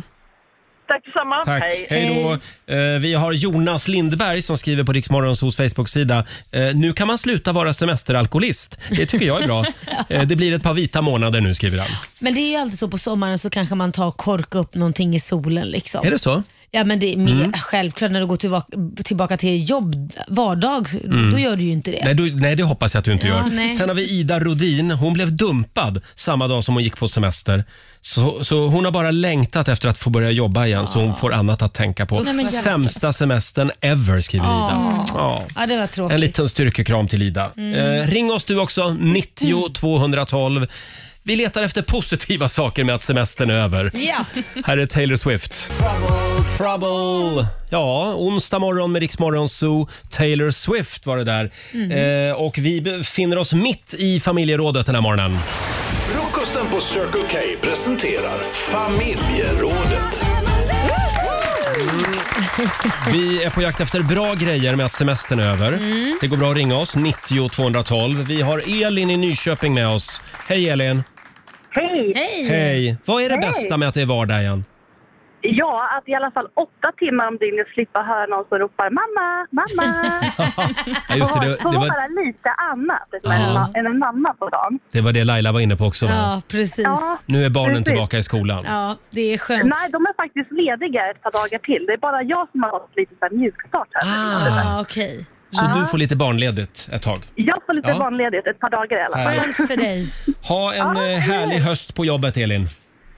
Tack detsamma.
Tack. Hej då. Eh, Vi har Jonas Lindberg som skriver på Riksmorgonsos Facebook-sida. eh, Nu kan man sluta vara semesteralkoholist. Det tycker jag är bra. Eh, Det blir ett par vita månader nu, skriver han.
Men det är ju alltid så på sommaren så kanske man tar och korkar upp någonting i solen. Liksom.
Är det så?
Ja men det är mer,
Mm.
självklart när du går tillbaka, tillbaka till jobb, vardag,
Mm.
då gör du ju inte det.
Nej, du, nej, det hoppas jag att du inte
Ja,
gör.
nej.
Sen har vi Ida Rodin. Hon blev dumpad samma dag som hon gick på semester. Så, så hon har bara längtat efter att få börja jobba igen så hon får annat att tänka på.
Nej, men jävlar.
Sämsta semestern ever, skriver
Ja.
Ida. Ah. Ja.
Ja det var
En
tråkigt.
liten styrkekram till Ida.
Mm.
Eh, ring oss du också, 90 212. Vi letar efter positiva saker med att semestern är över.
Ja.
Här är Taylor Swift. Trouble, trouble. Ja, onsdag morgon med Riksmorgon Zoo. Taylor Swift var det där.
Mm.
Eh, och vi befinner oss mitt i familjerådet den här morgonen.
Frukosten på Circle K presenterar Familjerådet.
Vi är på jakt efter bra grejer med att semestern är över.
Mm.
Det går bra att ringa oss, 90 212. Vi har Elin i Nyköping med oss. Hej Elin!
Hej! Hej!
Hej! Vad är det bästa med att det är vardag igen?
Ja, att i alla fall åtta timmar om dygnet slippa höra någon som ropar mamma, mamma.
Ja, just det, det,
Få
det,
höra
var,
lite annat än en,
Ja.
ma- än en mamma på dagen.
det var det Laila var inne på också. Va?
precis.
Nu är barnen tillbaka i skolan.
Ja, det är skönt.
Nej, de är faktiskt lediga ett par dagar till. Det är bara jag som har fått lite så här mjukstart här.
Ah,
okej.
Så du får lite barnledigt ett tag.
Jag får lite
Ja.
barnledigt ett par dagar i alla fall.
Härligt. Skönt
för dig.
Ha en eh, härlig höst på jobbet, Elin.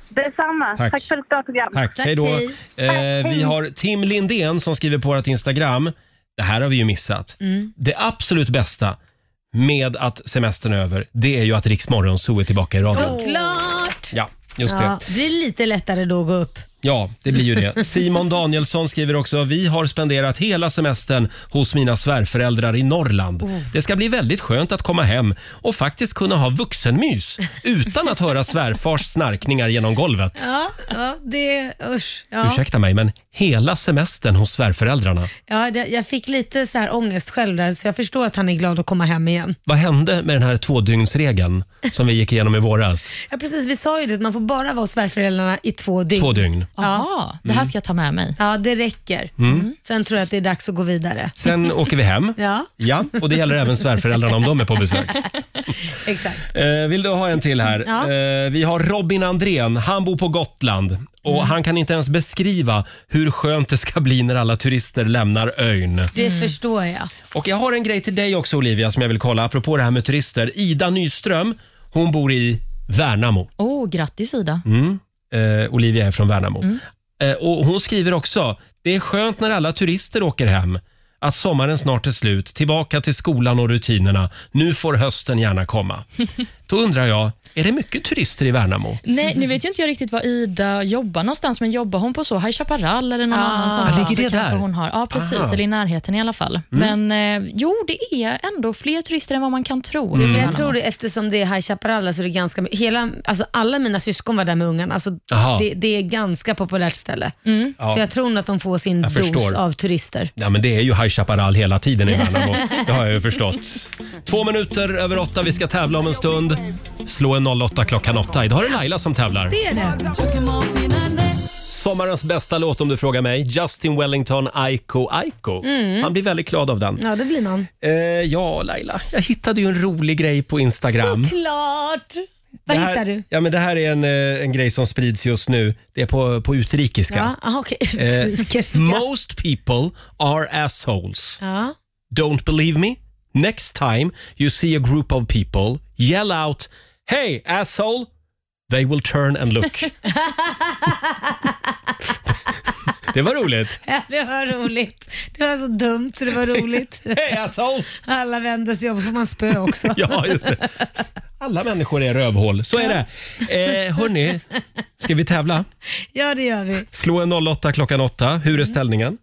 Detsamma.
Tack.
Tack. Tack för ett bra program.
Tack. Hej då. Eh,
Mm.
vi har Tim Lindén som skriver på vårt Instagram. Det här har vi ju missat.
Mm.
Det absolut bästa med att semestern är över, det är ju att Rix Morgonzoo är tillbaka i radion.
Såklart!
Ja, just
Ja,
det.
det blir lite lättare då att gå upp.
Ja, det blir ju det. Simon Danielsson skriver också, vi har spenderat hela semestern hos mina svärföräldrar i Norrland.
Oh.
Det ska bli väldigt skönt att komma hem och faktiskt kunna ha vuxenmys utan att höra svärfars snarkningar genom golvet.
Ja, ja det... Usch. Ja.
Ursäkta mig, men hela semestern hos svärföräldrarna.
Ja, det, jag fick lite så här ångest själv där, så jag förstår att han är glad att komma hem igen.
Vad hände med den här tvådygnsregeln som vi gick igenom i våras?
Ja, precis. Vi sa ju det, att man får bara vara hos svärföräldrarna i två dygn.
Två dygn.
Aha, det här ska jag ta med mig. Ja, det räcker.
Mm.
Sen tror jag att det är dags att gå vidare.
Sen åker vi hem.
Ja,
Ja, och det gäller även svärföräldrarna om de är på besök.
exakt.
Eh, vill du ha en till här?
Ja.
Eh, vi har Robin Andrén. Han bor på Gotland och
Mm.
han kan inte ens beskriva hur skönt det ska bli när alla turister lämnar ön.
Det förstår jag.
Och jag har en grej till dig också Olivia som jag vill kolla apropå det här med turister. Ida Nyström, hon bor i Värnamo.
Åh, oh, grattis Ida.
Mm. Eh, Olivia är från Värnamo.
Mm.
Eh, och hon skriver också, det är skönt när alla turister åker hem. Att sommaren snart är slut, tillbaka till skolan och rutinerna. Nu får hösten gärna komma. Då undrar jag, är det mycket turister i Värnamo?
Nej, nu vet ju inte jag riktigt var Ida jobbar någonstans, men jobbar hon på så High Chaparral eller någon
Ah.
annan sån?
Ja, ligger
så
det
kanske
där?
Hon har. Ja, precis.
Aha.
Eller i närheten i alla fall.
Mm.
Men eh, jo, det är ändå fler turister än vad man kan tro.
Mm.
Jo, men jag tror det eftersom det är High Chaparral, så det är ganska, hela, alltså alla mina syskon var där med ungarna. Alltså,
Jaha. Mm.
det, det är ganska populärt ställe.
Ja.
Så jag tror nog att de får sin
Jag förstår.
dos av turister.
Ja, men det är ju High Chaparral hela tiden i Värnamo. Det har jag ju förstått. Två minuter över åtta, vi ska tävla om en stund. Slå en 08 klockan åtta. Idag är det Laila som tävlar.
Det är det.
Sommarens bästa låt om du frågar mig. Justin Wellington, Aiko Aiko.
Mm.
Han blir väldigt glad av den.
Ja, det blir man.
Eh, ja, Laila. Jag hittade ju en rolig grej på Instagram.
Klart! Vad
Det här,
hittar du?
Ja, men det här är en, eh, en grej som sprids just nu. Det är på, på utrikiska.
Ja, aha, okej.
Eh,
Utrikiska.
most people are assholes.
Ja.
Don't believe me? Next time you see a group of people, yell out “Hey asshole!” They will turn and look. det var roligt.
Ja, det var roligt. Det var så dumt så det var roligt.
Hej asshole!
Alla vänder sig om och får man spö också.
Ja, just det. Alla människor är rövhål, så är det. Eh, hörni, ska vi tävla?
Ja, det gör vi.
Slå en 08 klockan 8. Hur är ställningen?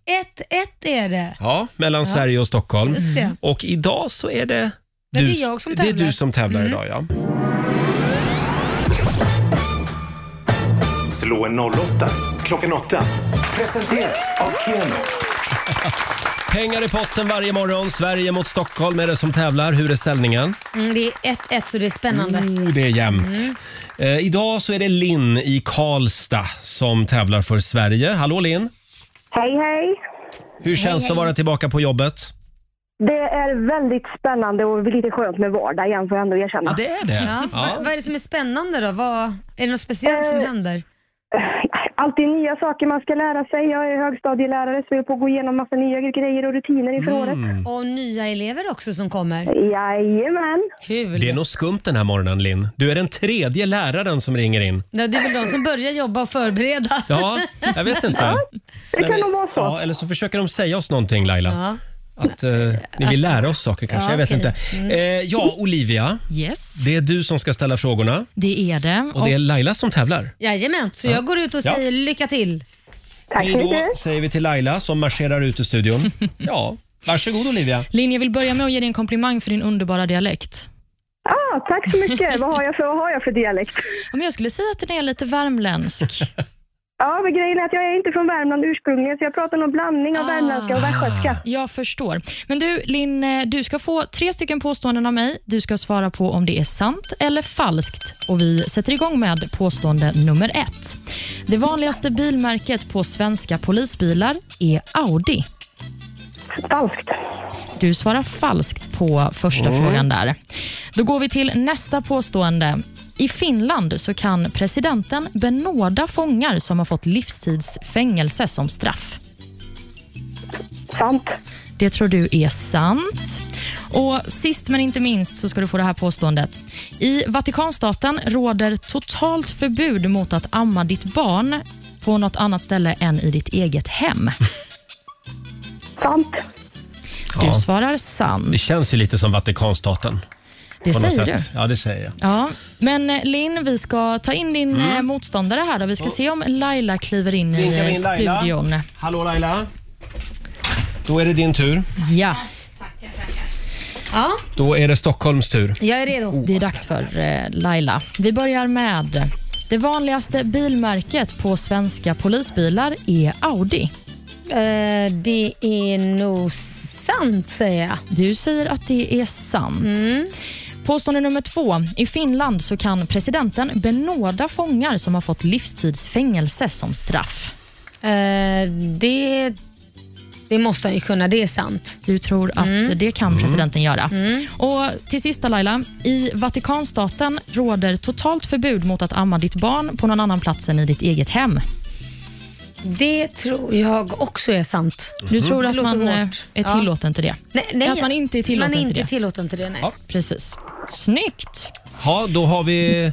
1-1 är det.
Ja, mellan
Ja.
Sverige och Stockholm.
Just det.
Och idag så är det
Ja,
du,
det är jag som
det är
tävlar.
du som tävlar
Mm.
idag. Ja.
Slå en 08 klockan 8. Presenteras av Keno.
Pengar i potten varje morgon. Sverige mot Stockholm är det som tävlar. Hur är ställningen?
Mm, det är 1-1 så det är spännande.
Oh, det är jämnt.
Mm.
Eh, idag så är det Linn i Karlstad som tävlar för Sverige. Hallå Linn!
Hej, hej.
Hur känns det att vara tillbaka på jobbet?
Det är väldigt spännande och lite skönt med vardag igen får jag ändå erkänna.
Ja, det är det.
Ja,
Ja.
Vad, vad är det som är spännande då? Vad, är det något speciellt
Eh.
som händer?
Alltid nya saker man ska lära sig. Jag är högstadielärare så jag är på att gå igenom massa nya grejer och rutiner inför året.
Och nya elever också som kommer?
Jajamän.
Kul.
Det är nog skumt den här morgonen Linn. Du är den tredje läraren som ringer in.
Ja, det är väl de som börjar jobba och förbereda.
Ja, jag vet inte.
det kan
Nej,
nog vara så.
Ja, eller så försöker de säga oss någonting Laila.
Ja.
Att eh, ni vill lära oss saker kanske.
Ja,
jag vet
okej.
inte.
Mm.
Eh, ja, Olivia.
Yes,
Det är du som ska ställa frågorna.
det är det.
Och det är Laila som tävlar.
Jajamän, så
Ja.
jag går ut och
Ja.
säger lycka till.
Hej då, säger vi till Laila som marscherar ut ur studion. Ja, varsågod Olivia.
Linn, jag vill börja med att ge dig en komplimang för din underbara dialekt.
Ah, tack så mycket. vad, har jag för, vad har jag för dialekt?
Ja, men jag skulle säga att den är lite värmländsk.
Ja, men grejen är att jag är inte från Värmland ursprungligen så jag pratar någon blandning av värmländska och västgötska.
Jag förstår. Men du, Linn, eh, du ska få tre stycken påståenden av mig. Du ska svara på om det är sant eller falskt. Och Vi sätter igång med påstående nummer ett. Det vanligaste bilmärket på svenska polisbilar är Audi.
Falskt.
Du svarar falskt på första
Mm.
frågan där. Då går vi till nästa påstående. I Finland så kan presidenten benåda fångar som har fått livstidsfängelse som straff.
Sant.
Det tror du är sant. Och Sist men inte minst så ska du få det här påståendet. I Vatikanstaten råder totalt förbud mot att amma ditt barn på något annat ställe än i ditt eget hem.
Sant.
Du
Ja.
svarar sant.
Det känns ju lite som Vatikanstaten.
Det
på något
säger
sätt. Ja, det säger jag.
Ja, men eh, Linn, vi ska ta in din
Mm.
eh, motståndare här. Då. Vi ska
Mm.
se om Laila kliver in i
Vinkar vi
eh,
in Laila?
studion.
Hallå Laila. Då är det din tur.
Ja.
Ja,
Då är det Stockholms tur.
jag är redo.
Det är dags för eh, Laila. Vi börjar med det vanligaste bilmärket på svenska polisbilar är Audi.
Eh, det är nog sant säger jag.
Du säger att det är sant.
Mm.
Påstående nummer två. I Finland så kan presidenten benåda fångar som har fått livstidsfängelse som straff.
Eh, det, det måste han ju kunna, det är sant.
Du tror att det kan presidenten göra.
Mm.
Och Till sist Laila, i Vatikanstaten råder totalt förbud mot att amma ditt barn på någon annan plats än i ditt eget hem.
Det tror jag också är sant.
Du tror
Mm. Det
att
låter
man eh,
hårt.
är
Ja.
tillåten till det?
Nej, nej,
att man inte är tillåten
man är
till
inte
det?
tillåten till det, nej.
Precis. Snyggt!
Ja, då har vi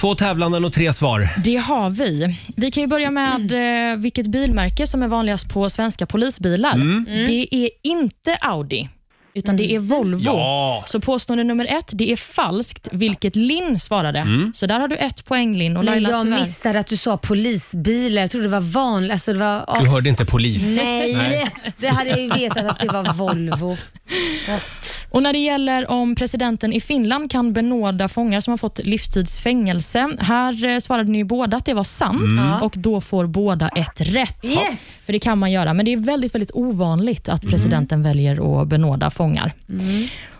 två tävlanden och tre svar.
Det har vi. Vi kan ju börja med
Mm.
eh, vilket bilmärke som är vanligast på svenska polisbilar.
Mm.
Det är inte Audi, utan det är Volvo.
Ja.
Så påstående nummer ett, det är falskt, vilket Linn svarade.
Mm.
Så där har du ett poäng Linn och
Men
Laila
jag
tyvärr.
missade att du sa polisbilar. Jag trodde det var vanligt. Alltså det var, ja.
Du hörde inte polis?
Nej. det hade jag ju vetat att det var Volvo.
Och när det gäller om presidenten i Finland kan benåda fångar som har fått livstidsfängelse. Här eh, svarade ni ju båda att det var sant
Mm.
och då får båda ett rätt.
Yes!
För det kan man göra, men det är väldigt, väldigt ovanligt att presidenten väljer att benåda fångar.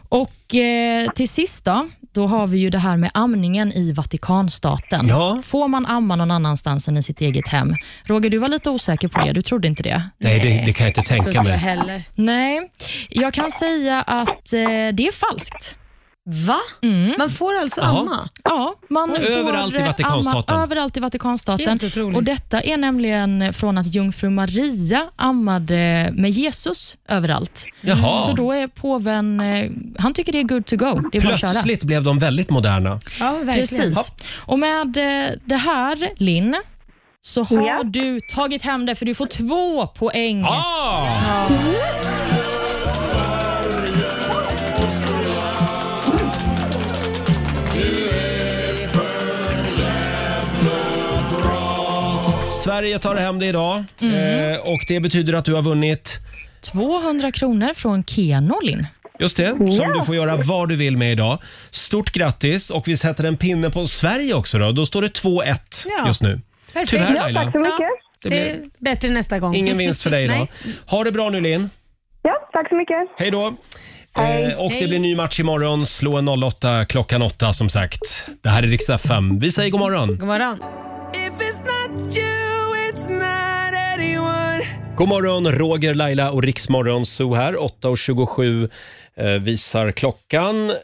Och eh, till sist då, då har vi ju det här med amningen i Vatikanstaten. Får man amma någon annanstans än i sitt eget hem? Roger, du var lite osäker på det. Du trodde inte det?
Nej, det, det kan jag inte
Tror inte
tänka
jag
mig.
heller.
Nej, jag kan säga att eh, det är falskt.
Va? Man får alltså
Jaha.
amma?
Ja, man
Oj.
får
Överallt i
amma
Vatikanstaten.
överallt i Vatikanstaten.
Helt otroligt.
Och detta är nämligen från att jungfru Maria ammade med Jesus överallt.
Jaha.
Så då är påven, eh, han tycker det är good to go. Det är bara att köra.
Plötsligt blev de väldigt moderna.
Precis.
Ja.
Och med eh, det här, Linn, så har du tagit hem det, för du får två poäng.
Ah.
Ja.
Sverige tar hem det idag
Mm.
eh, och det betyder att du har vunnit
200 kronor från Keno, Linn.
Just det, som
Ja.
du får göra vad du vill med idag. Stort grattis och vi sätter en pinne på Sverige också då. Då står det 2-1
Ja.
just nu.
Perfekt.
Tyvärr Laila.
Ja,
Det
det är
blir
bättre nästa gång.
ingen vinst för dig idag.
Nej.
Ha det bra nu Linn.
Ja, tack så mycket.
Hej då.
Hej.
Eh, och det
Hej.
blir ny match imorgon. Slå en 08 klockan 8 som sagt. Det här är Rix FM. Vi säger god morgon.
God morgon.
God morgon, Roger, Laila och Riksmorgon Zoo här. 8.27 eh, visar klockan. Eh,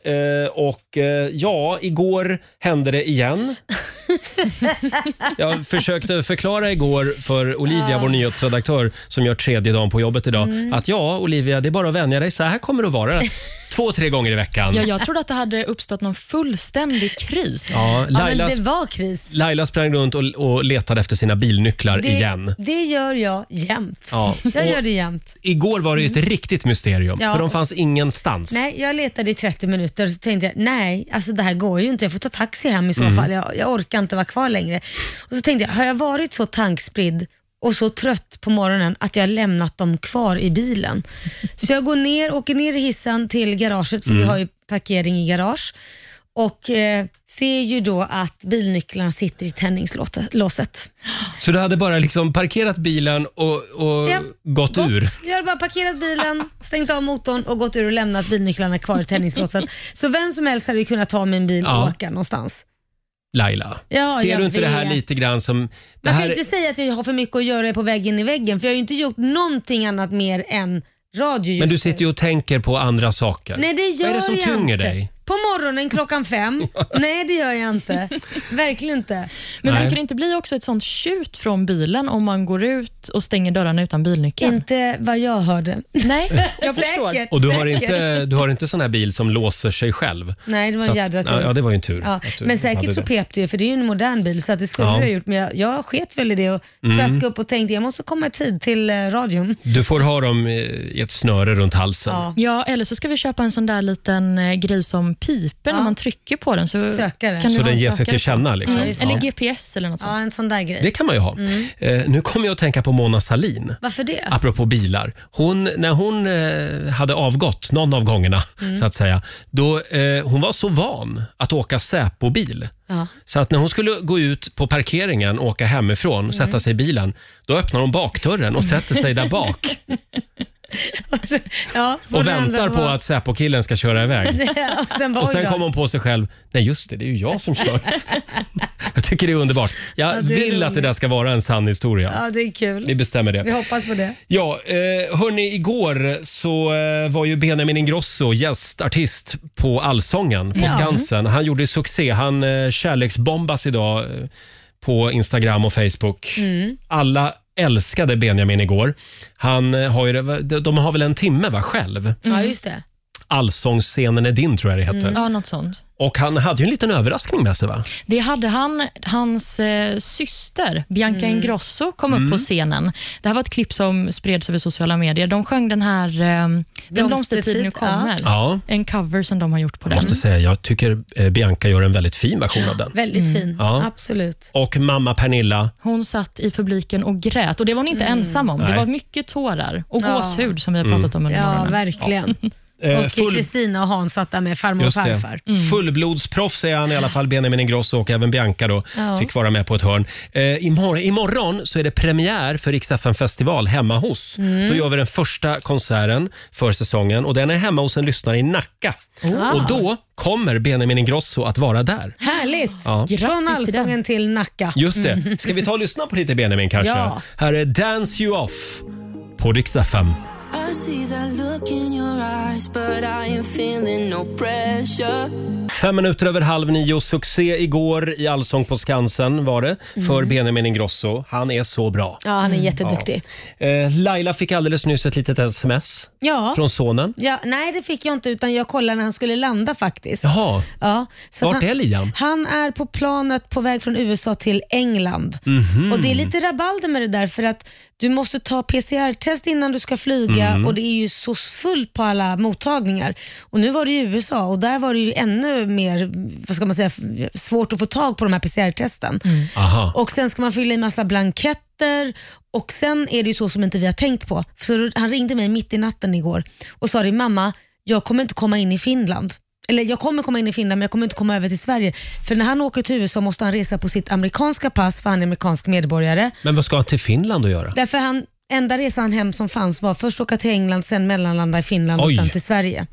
och eh, ja, igår hände det igen. Jag försökte förklara igår för Olivia, vår nyhetsredaktör, som gör tredje dagen på jobbet idag,
Mm.
att ja, Olivia, det är bara att vänja dig. Så här kommer det att vara två, tre gånger i veckan.
Ja, jag trodde att det hade uppstått någon fullständig kris.
Ja, Ja, Lailas- men det
var kris.
Laila sprang runt och, och letade efter sina bilnycklar igen.
Det gör jag jämt.
Ja.
Jag
Och-
gör det jämt.
Igår var det ju ett riktigt mysterium,
Ja.
för de fanns ingenstans.
Nej, jag letade i 30 minuter och så tänkte jag, nej, alltså det här går ju inte. Jag får ta taxi hem i så
Mm.
fall. Jag, jag orkar inte vara kvar längre. Och så tänkte jag, har jag varit så tankspridd och så trött på morgonen att jag har lämnat dem kvar i bilen. Så jag går ner, åker ner i hissen till garaget, för vi
Mm.
har ju parkering i garage. Och eh, ser ju då att bilnycklarna sitter i tändningslåset.
Så du hade bara liksom parkerat bilen och, och
Ja,
gått, ur?
Jag hade bara parkerat bilen, stängt av motorn och gått ur och lämnat bilnycklarna kvar i tändningslåset. Så vem som helst hade ju kunnat ta min bil och
Ja.
åka någonstans.
Laila,
Ja,
ser
jag
du inte det här
vet.
lite grann som... Det
Man kan
här,
ju inte säga att jag har för mycket att göra på väg in i väggen för jag har ju inte gjort någonting annat mer än radio just
men du
nu.
sitter ju och tänker på andra saker.
Nej, det gör
Vad är det som
jag
tynger
inte.
dig?
På morgonen klockan fem? Nej, det gör jag inte. Verkligen inte.
Men
Nej.
kan det inte bli också ett sånt tjut från bilen om man går ut och stänger dörrarna utan bilnyckeln?
Inte vad jag hörde.
Nej, jag
Säkert.
förstår.
Och du har, inte, du har inte sån här bil som låser sig själv?
Nej, det var
Så
en
att-
jädra tur.
Ja, det var ju en tur.
Ja,
att du
men
hade
säkert så
det.
pep det ju för det är ju en modern bil så att det skulle
Ja.
du ha gjort men jag, jag sket väl i det och
Mm.
traskade upp och tänkte jag måste komma i tid till eh, radion.
Du får ha dem eh, i ett snöre runt halsen.
Ja, eller så ska vi köpa en sån där liten eh, grej som piper när man trycker på den. Så
Sökare.
Kan du
Så
ha
den
en
ger sig
sökare
till känna,
på.
Mm,
liksom. Ja.
Mm. Eller GPS eller något sånt.
Ja, en sån där grej.
Det kan man ju ha.
Mm.
Eh, nu kommer jag att tänka på Mona Salin.
Varför det?
Apropå bilar. Hon, när hon eh, hade avgått, någon av gångerna,
Mm.
så att säga, då, eh, hon var så van att åka Säpo-bil.
Ja.
Så att när hon skulle gå ut på parkeringen och åka hemifrån,
Mm.
sätta sig i bilen, då öppnar hon bakdörren och sätter sig där bak
Ja,
och
får den
väntar
ändå
på
vara-
att Säpo-killen ska köra iväg.
Ja, och sen, bara,
Och
oj
sen
då.
kom hon på sig själv, nej just det, det är ju jag som kör. Jag tycker det är underbart. Jag
Ja, det är
vill att det
roligt.
där ska vara en sann historia.
Ja, det är kul.
Vi bestämmer det.
Vi hoppas på det.
Ja, eh, hörni, igår så eh, var ju Benjamin Ingrosso gästartist på Allsången på
Ja.
Skansen. Han gjorde succé. Han eh, kärleksbombas idag eh, på Instagram och Facebook.
Mm.
Alla älskade Benjamin igår. Han eh, har ju, det- de har väl en timme va, själv?
Ja, just det.
Allsångsscenen är din tror jag det heter.
Mm.
Ja, något sånt.
Och han hade ju en liten överraskning med sig va?
Det hade han. Hans eh, syster Bianca
Mm.
Ingrosso kom
Mm.
upp på scenen. Det här var ett klipp som spreds över sociala medier. De sjöng den här eh, Den blomstertid nu kommer.
Ja. Mm.
En cover som de har gjort på
Jag
den.
Mm.
måste säga, jag tycker eh, Bianca gör en väldigt fin version av den.
Väldigt fin,
Ja.
Mm. absolut.
Och mamma Pernilla,
Hon satt i publiken och grät och det var hon inte ensam om.
Nej.
Det var mycket tårar och
Ja. Mm.
gåshud som vi har pratat om under
Ja,
morgonen.
verkligen.
Eh,
Och
full-
Kristina och Hans satt där med farmor och
Just det.
farfar.
Mm. Fullblodsproffs är han i alla fall, Benjamin Ingrosso och även Bianca då
Ja.
fick vara med på ett hörn. Eh, imorgon, imorgon så är det premiär för Rix FM festival hemma hos.
Mm.
Då gör vi den första konserten för säsongen och den är hemma hos en lyssnare i Nacka.
Oh.
Och då kommer Benjamin Ingrosso att vara där.
Härligt!
Ja. Grattis
Från
till
Allsången till, Nacka.
Just
Mm.
det. Ska vi ta och lyssna på lite Benjamin kanske?
Ja.
Här är Dance You Off på Rix FM.
I see that look in your eyes, but I ain't feeling no pressure.
Fem minuter över halv nio. Succé igår i Allsång på Skansen var det för
Mm.
Benjamin Ingrosso. Han är så bra.
Ja, han är jätteduktig.
Ja. Eh, Laila fick alldeles nyss ett litet sms
Ja.
från sonen.
Ja, nej, det fick jag inte utan jag kollade när han skulle landa faktiskt.
Jaha,
Ja, att
Vart
han,
är Liam?
Han är på planet på väg från USA till England.
Mhm.
Och Det är lite rabalder med det där för att du måste ta PCR-test innan du ska flyga
Mhm.
Mm.
och det är ju så fullt på alla mottagningar. Och Nu var det i USA och där var det ju ännu mer vad ska man säga, f- svårt att få tag på de här PCR-testen.
Aha.
Och Sen ska man fylla i massa blanketter och sen är det ju så som inte vi har tänkt på. Så då- han ringde mig mitt i natten igår och sa det, mamma, jag kommer inte komma in i Finland. Eller jag kommer komma in i Finland men jag kommer inte komma över till Sverige. För när han åker till USA måste han resa på sitt amerikanska pass för han är amerikansk medborgare.
Men vad ska han till Finland och göra?
Därför han, enda resan hem som fanns var först åka till England, sen mellanlanda i Finland och
Oj.
sen till Sverige.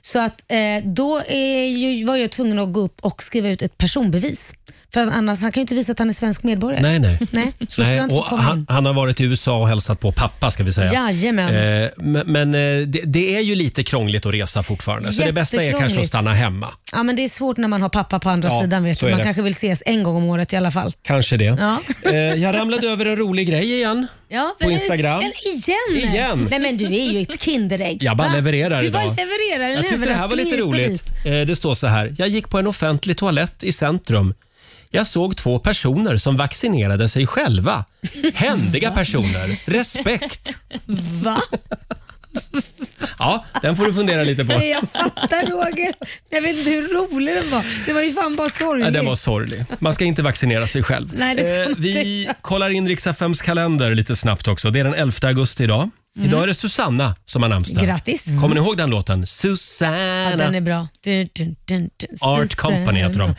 Så att eh, då är ju, var jag tvungen att gå upp och skriva ut ett personbevis. För att annars, han kan ju inte visa att han är svensk medborgare.
Nej, nej.
nej så då skulle han inte få
och
komma in.
han, han har varit i USA och hälsat på pappa ska vi säga.
Jajamän.
Eh, men men eh, det, det är ju lite krångligt att resa fortfarande så det bästa är kanske att
Jättekrångligt.
stanna hemma.
Ja, men det är svårt när man har pappa på andra
Ja,
sidan. Vet
så
du.
är
Man
det.
kanske vill ses en gång om året i alla fall.
Kanske det.
Ja.
Eh, jag ramlade över en rolig grej igen.
Ja,
På
men-
Instagram.
men Igen?
Igen.
Nej men du är ju ett Kinderägg.
Jag bara
Va?
levererar
du
idag.
Bara levererar en
Jag tyckte det här var
överraskning
lite
hit och dit.
roligt. Eh, Det står så här. Jag gick på en offentlig toalett i centrum. Jag såg två personer som vaccinerade sig själva. Händiga personer. Respekt.
Va?
Ja, den får du fundera lite på.
Nej, jag fattar Roger. Jag vet inte hur rolig den var. Det var ju fan bara sorgligt.
Ja, den var sorglig. Man ska inte vaccinera sig själv.
Nej, det ska
Eh,
man
vi kollar in Rix FMs kalender lite snabbt också. Det är den 11 augusti idag.
Mm.
Idag är det Susanna som har namnsdag.
Grattis.
Kommer ni ihåg den låten? Susanna.
ja, den är bra. Dun, dun, dun, dun.
Art
Susanna.
Company heter de.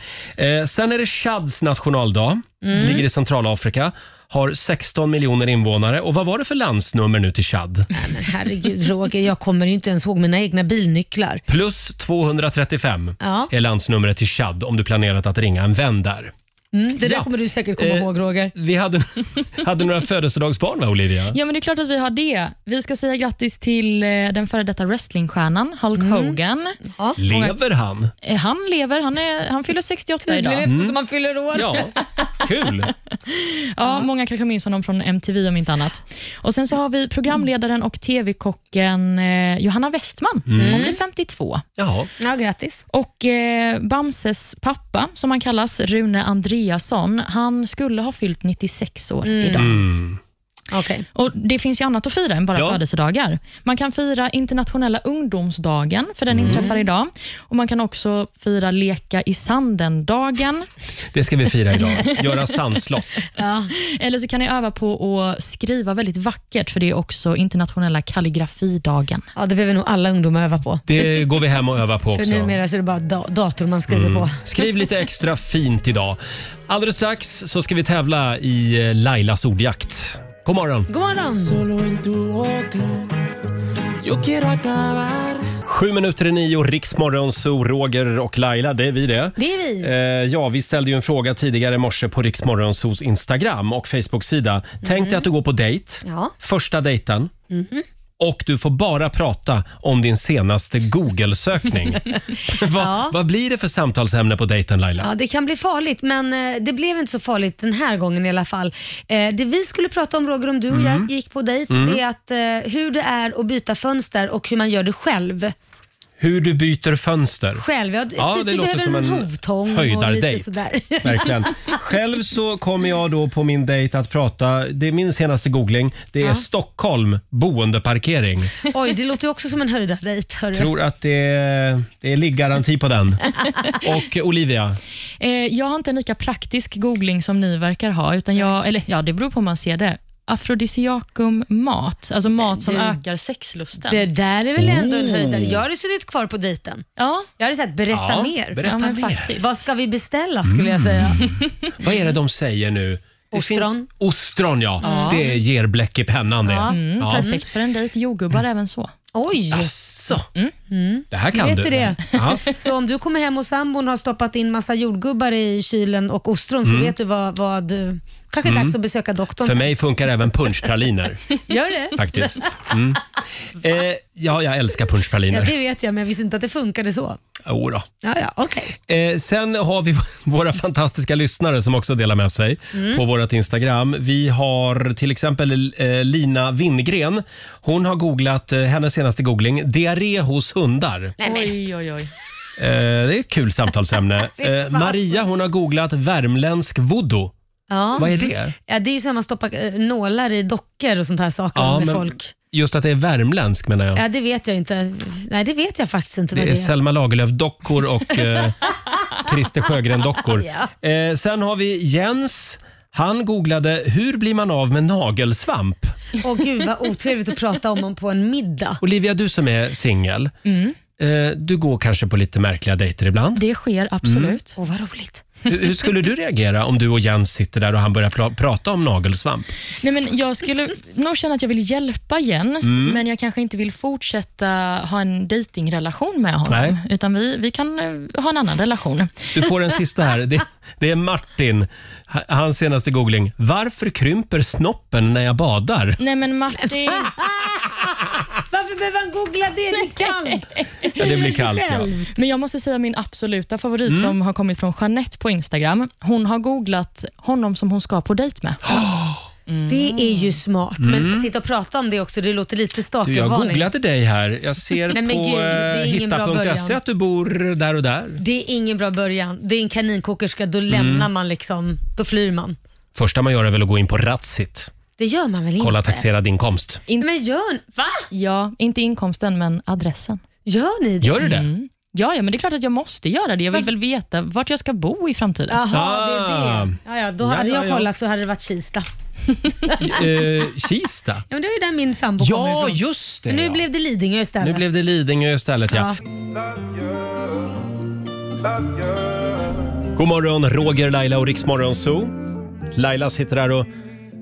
Eh, sen är det Chads nationaldag.
Mm.
Ligger i Centralafrika. Har 16 miljoner invånare. Och vad var det för landsnummer nu till Chad?
Men herregud Roger, jag kommer ju inte ens ihåg mina egna bilnycklar.
Plus 235
Ja.
är landsnumret till Chad om du planerat att ringa en vän där.
Mm, det där
Ja.
kommer du säkert komma
Eh,
ihåg Roger.
Vi hade, hade några födelsedagsbarn va Olivia?
Ja, men det är klart att vi har det. Vi ska säga grattis till eh, den före detta wrestlingstjärnan Hulk Hogan.
Lever han?
Eh, Han lever. Han, är, han fyller 68
Tydligen
idag.
eftersom han fyller år.
Mm. Ja, kul.
Ja, många kanske minns honom från MTV om inte annat. Och Sen så har vi programledaren och tv-kocken eh, Johanna Westman.
Mm.
Hon blir 52.
Jaha.
Ja, grattis.
Och eh, Bamses pappa, som han kallas, Rune Andreasson, han skulle ha fyllt 96 år
Mm.
idag.
Mm.
Okej.
Och Det finns ju annat att fira än bara
Ja.
födelsedagar. Man kan fira internationella ungdomsdagen, för
Mm.
den inträffar idag. Och Man kan också fira leka i sanden-dagen.
Det ska vi fira idag. Göra sandslott.
Eller så kan ni öva på att skriva väldigt vackert, för det är också internationella kalligrafidagen.
Ja, det behöver nog alla ungdomar öva på.
Det går vi hem och övar på
För
också.
numera så är det bara da- dator man skriver
Mm.
på.
Skriv lite extra fint idag. Alldeles strax så ska vi tävla i eh, Lailas ordjakt. God morgon!
God morgon!
Sju minuter i nio, Riksmorgon, så Roger och Laila, det är vi det.
Det är vi.
Eh, ja, vi ställde ju en fråga tidigare i morse på Riksmorgonsos Instagram och Facebook-sida. Tänk dig att du går på dejt,
Mhm. Ja.
första dejten,
Mhm.
och du får bara prata om din senaste Google-sökning. vad, vad blir det för samtalsämne på dejten Laila?
Ja, det kan bli farligt, men eh, det blev inte så farligt den här gången i alla fall. Eh, Det vi skulle prata om, Roger, om du och
Mm.
jag gick på dejt,
Mm.
det är att, eh, hur det är att byta fönster och hur man gör det själv.
Hur du byter fönster.
Själv, jag,
Ja,
typ,
det
du
låter
behöver
som
en
en
hovtång och lite
höjdardejt.
sådär.
Verkligen. Själv så kommer jag då på min dejt att prata, det är min senaste googling, det är
Ja.
Stockholm boendeparkering.
Oj, det låter ju också som en höjdardejt. hörru.
Tror att det är, det är liggaranti på den. Och Olivia,
Eh, jag har inte en lika praktisk googling som ni verkar ha, utan jag, eller ja, det beror på hur man ser det. Afrodisiakum mat, alltså mat som
Det-
ökar sexlusten.
Det där är väl ändå en
Oh.
höjdare. Jag hade suttit kvar på dejten.
Ja.
Jag hade sagt berätta
Ja,
mer.
berätta Mm. Ja, men mer. faktiskt.
Vad ska vi beställa skulle jag säga.
vad är det de säger nu? Det
Ostron.
Finns, ostron ja.
Ja.
Det ger bläck i pennan det.
Mm,
Ja.
Perfekt för en dejt, jordgubbar även så.
Oj!
Alltså, Asså.
Mm.
Det här kan
vet
du.
det.
Ja.
Så om du kommer hem och sambon har stoppat in massa jordgubbar i kylen och ostron så
Mm.
vet du vad... vad kanske är
Mm.
dags att besöka doktorn.
För mig funkar även punschpraliner.
Gör det?
Faktiskt. Mm. Eh, ja, jag älskar
Ja, det
punschpraliner.
vet jag, men jag visste inte att det funkade så.
Jo då.
Ja, ja, okej.
Eh, sen har vi våra fantastiska lyssnare som också delar med sig
Mm.
på vårt Instagram. Vi har till exempel eh, Lina Windgren. Hon har googlat, eh, hennes senaste googling, diarré hos hundar.
Oj, oj, oj.
Eh, det är ett kul samtalsämne.
Fy
Eh,
fan.
Maria hon har googlat värmländsk voodoo.
Ja.
Vad är det?
Ja, det är ju så att man stoppar eh, nålar i dockor och sånt här saker med folk.
Just att det är värmländsk menar jag.
Ja, det vet jag inte. Nej, det vet jag faktiskt inte vad
Det är
det är.
Selma Lagerlöf-dockor och eh, Christer Sjögren-dockor. Eh, sen har vi Jens. Han googlade “Hur blir man av med nagelsvamp?”
Åh gud vad otrevligt att prata om på en middag.
Olivia, du som är singel,
Mm.
eh, du går kanske på lite märkliga dejter ibland.
Det sker absolut.
Åh, vad roligt.
Hur, hur skulle du reagera om du och Jens sitter där och han börjar pra- prata om nagelsvamp?
Nej, men jag skulle nog känna att jag vill hjälpa Jens,
Mm.
men jag kanske inte vill fortsätta ha en datingrelation med honom.
Nej.
Utan vi, vi kan eh, ha en annan relation.
Du får en sista här. Det, det är Martin. Ha- Hans senaste googling. “Varför krymper snoppen när jag badar?”
Nej men Martin.
Varför behöver han googla det? Det är kallt.
Ja, det blir kallt, ja.
Men jag måste säga min absoluta favorit
Mm.
som har kommit från Jeanette på Instagram. Hon har googlat honom som hon ska på dejt med.
Det är ju smart,
Mm.
men sitta och prata om det också, det låter lite
Du, jag
stalkervarning.
googlade dig här. Jag ser
Nej, men
på
gud, det är
eh,
ingen bra
hitta.se
början.
att du bor där och där.
Det är ingen bra början. Det är en kaninkokerska, då
Mm.
lämnar man liksom, då flyr man.
Första man gör är väl att gå in på Ratsit.
Det gör man väl
Kolla
inte?
taxerad inkomst.
In-
men gör Va?
Ja, inte inkomsten men adressen.
Gör ni
det? Gör du det?
Mm.
Ja, ja, men det är klart att jag måste göra det. Jag vill väl veta vart jag ska bo i framtiden.
Jaha, det är
Ah.
det. Ja, ja, då
Ja,
hade
ja,
jag
ja.
kollat så hade det varit Kista.
Eh, Kista?
Ja, men det var ju där min sambo
Ja,
kommer ifrån.
just det,
Men nu
ja.
blev det Lidingö istället.
Nu blev det Lidingö istället ja.
Ja.
God morgon Roger, Laila och Riksmorgon Zoo. Laila sitter här och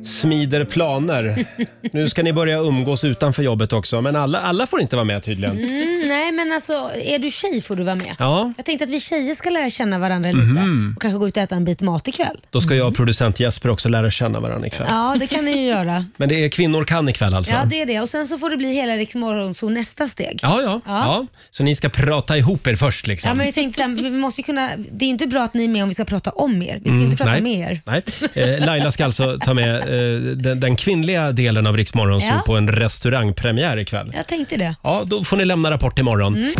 smider planer. Nu ska ni börja umgås utanför jobbet också, men alla, alla får inte vara med tydligen.
Mm, nej, men alltså är du tjej får du vara med.
Ja,
Jag tänkte att vi tjejer ska lära känna varandra
Mhm.
lite och kanske gå ut och äta en bit mat ikväll.
då ska jag och producent Jesper också lära känna varandra ikväll.
Mm. Ja, det kan ni ju göra.
Men det är kvinnor kan ikväll alltså?
Ja, det är det. Och sen så får det bli hela Rix Morgonzoo nästa steg.
Ja, ja, ja.
Ja.
Så ni ska prata ihop er först liksom?
Ja, men vi tänkte så här, vi måste ju kunna, det är ju inte bra att ni är med om vi ska prata om er. Vi ska ju inte prata
Mm, nej.
med er.
Nej. Eh, Laila ska alltså ta med eh, den, den kvinnliga delen av Riksmorgon
Ja.
på en restaurangpremiär ikväll.
Jag tänkte det.
Ja, då får ni lämna rapport imorgon.
Mm.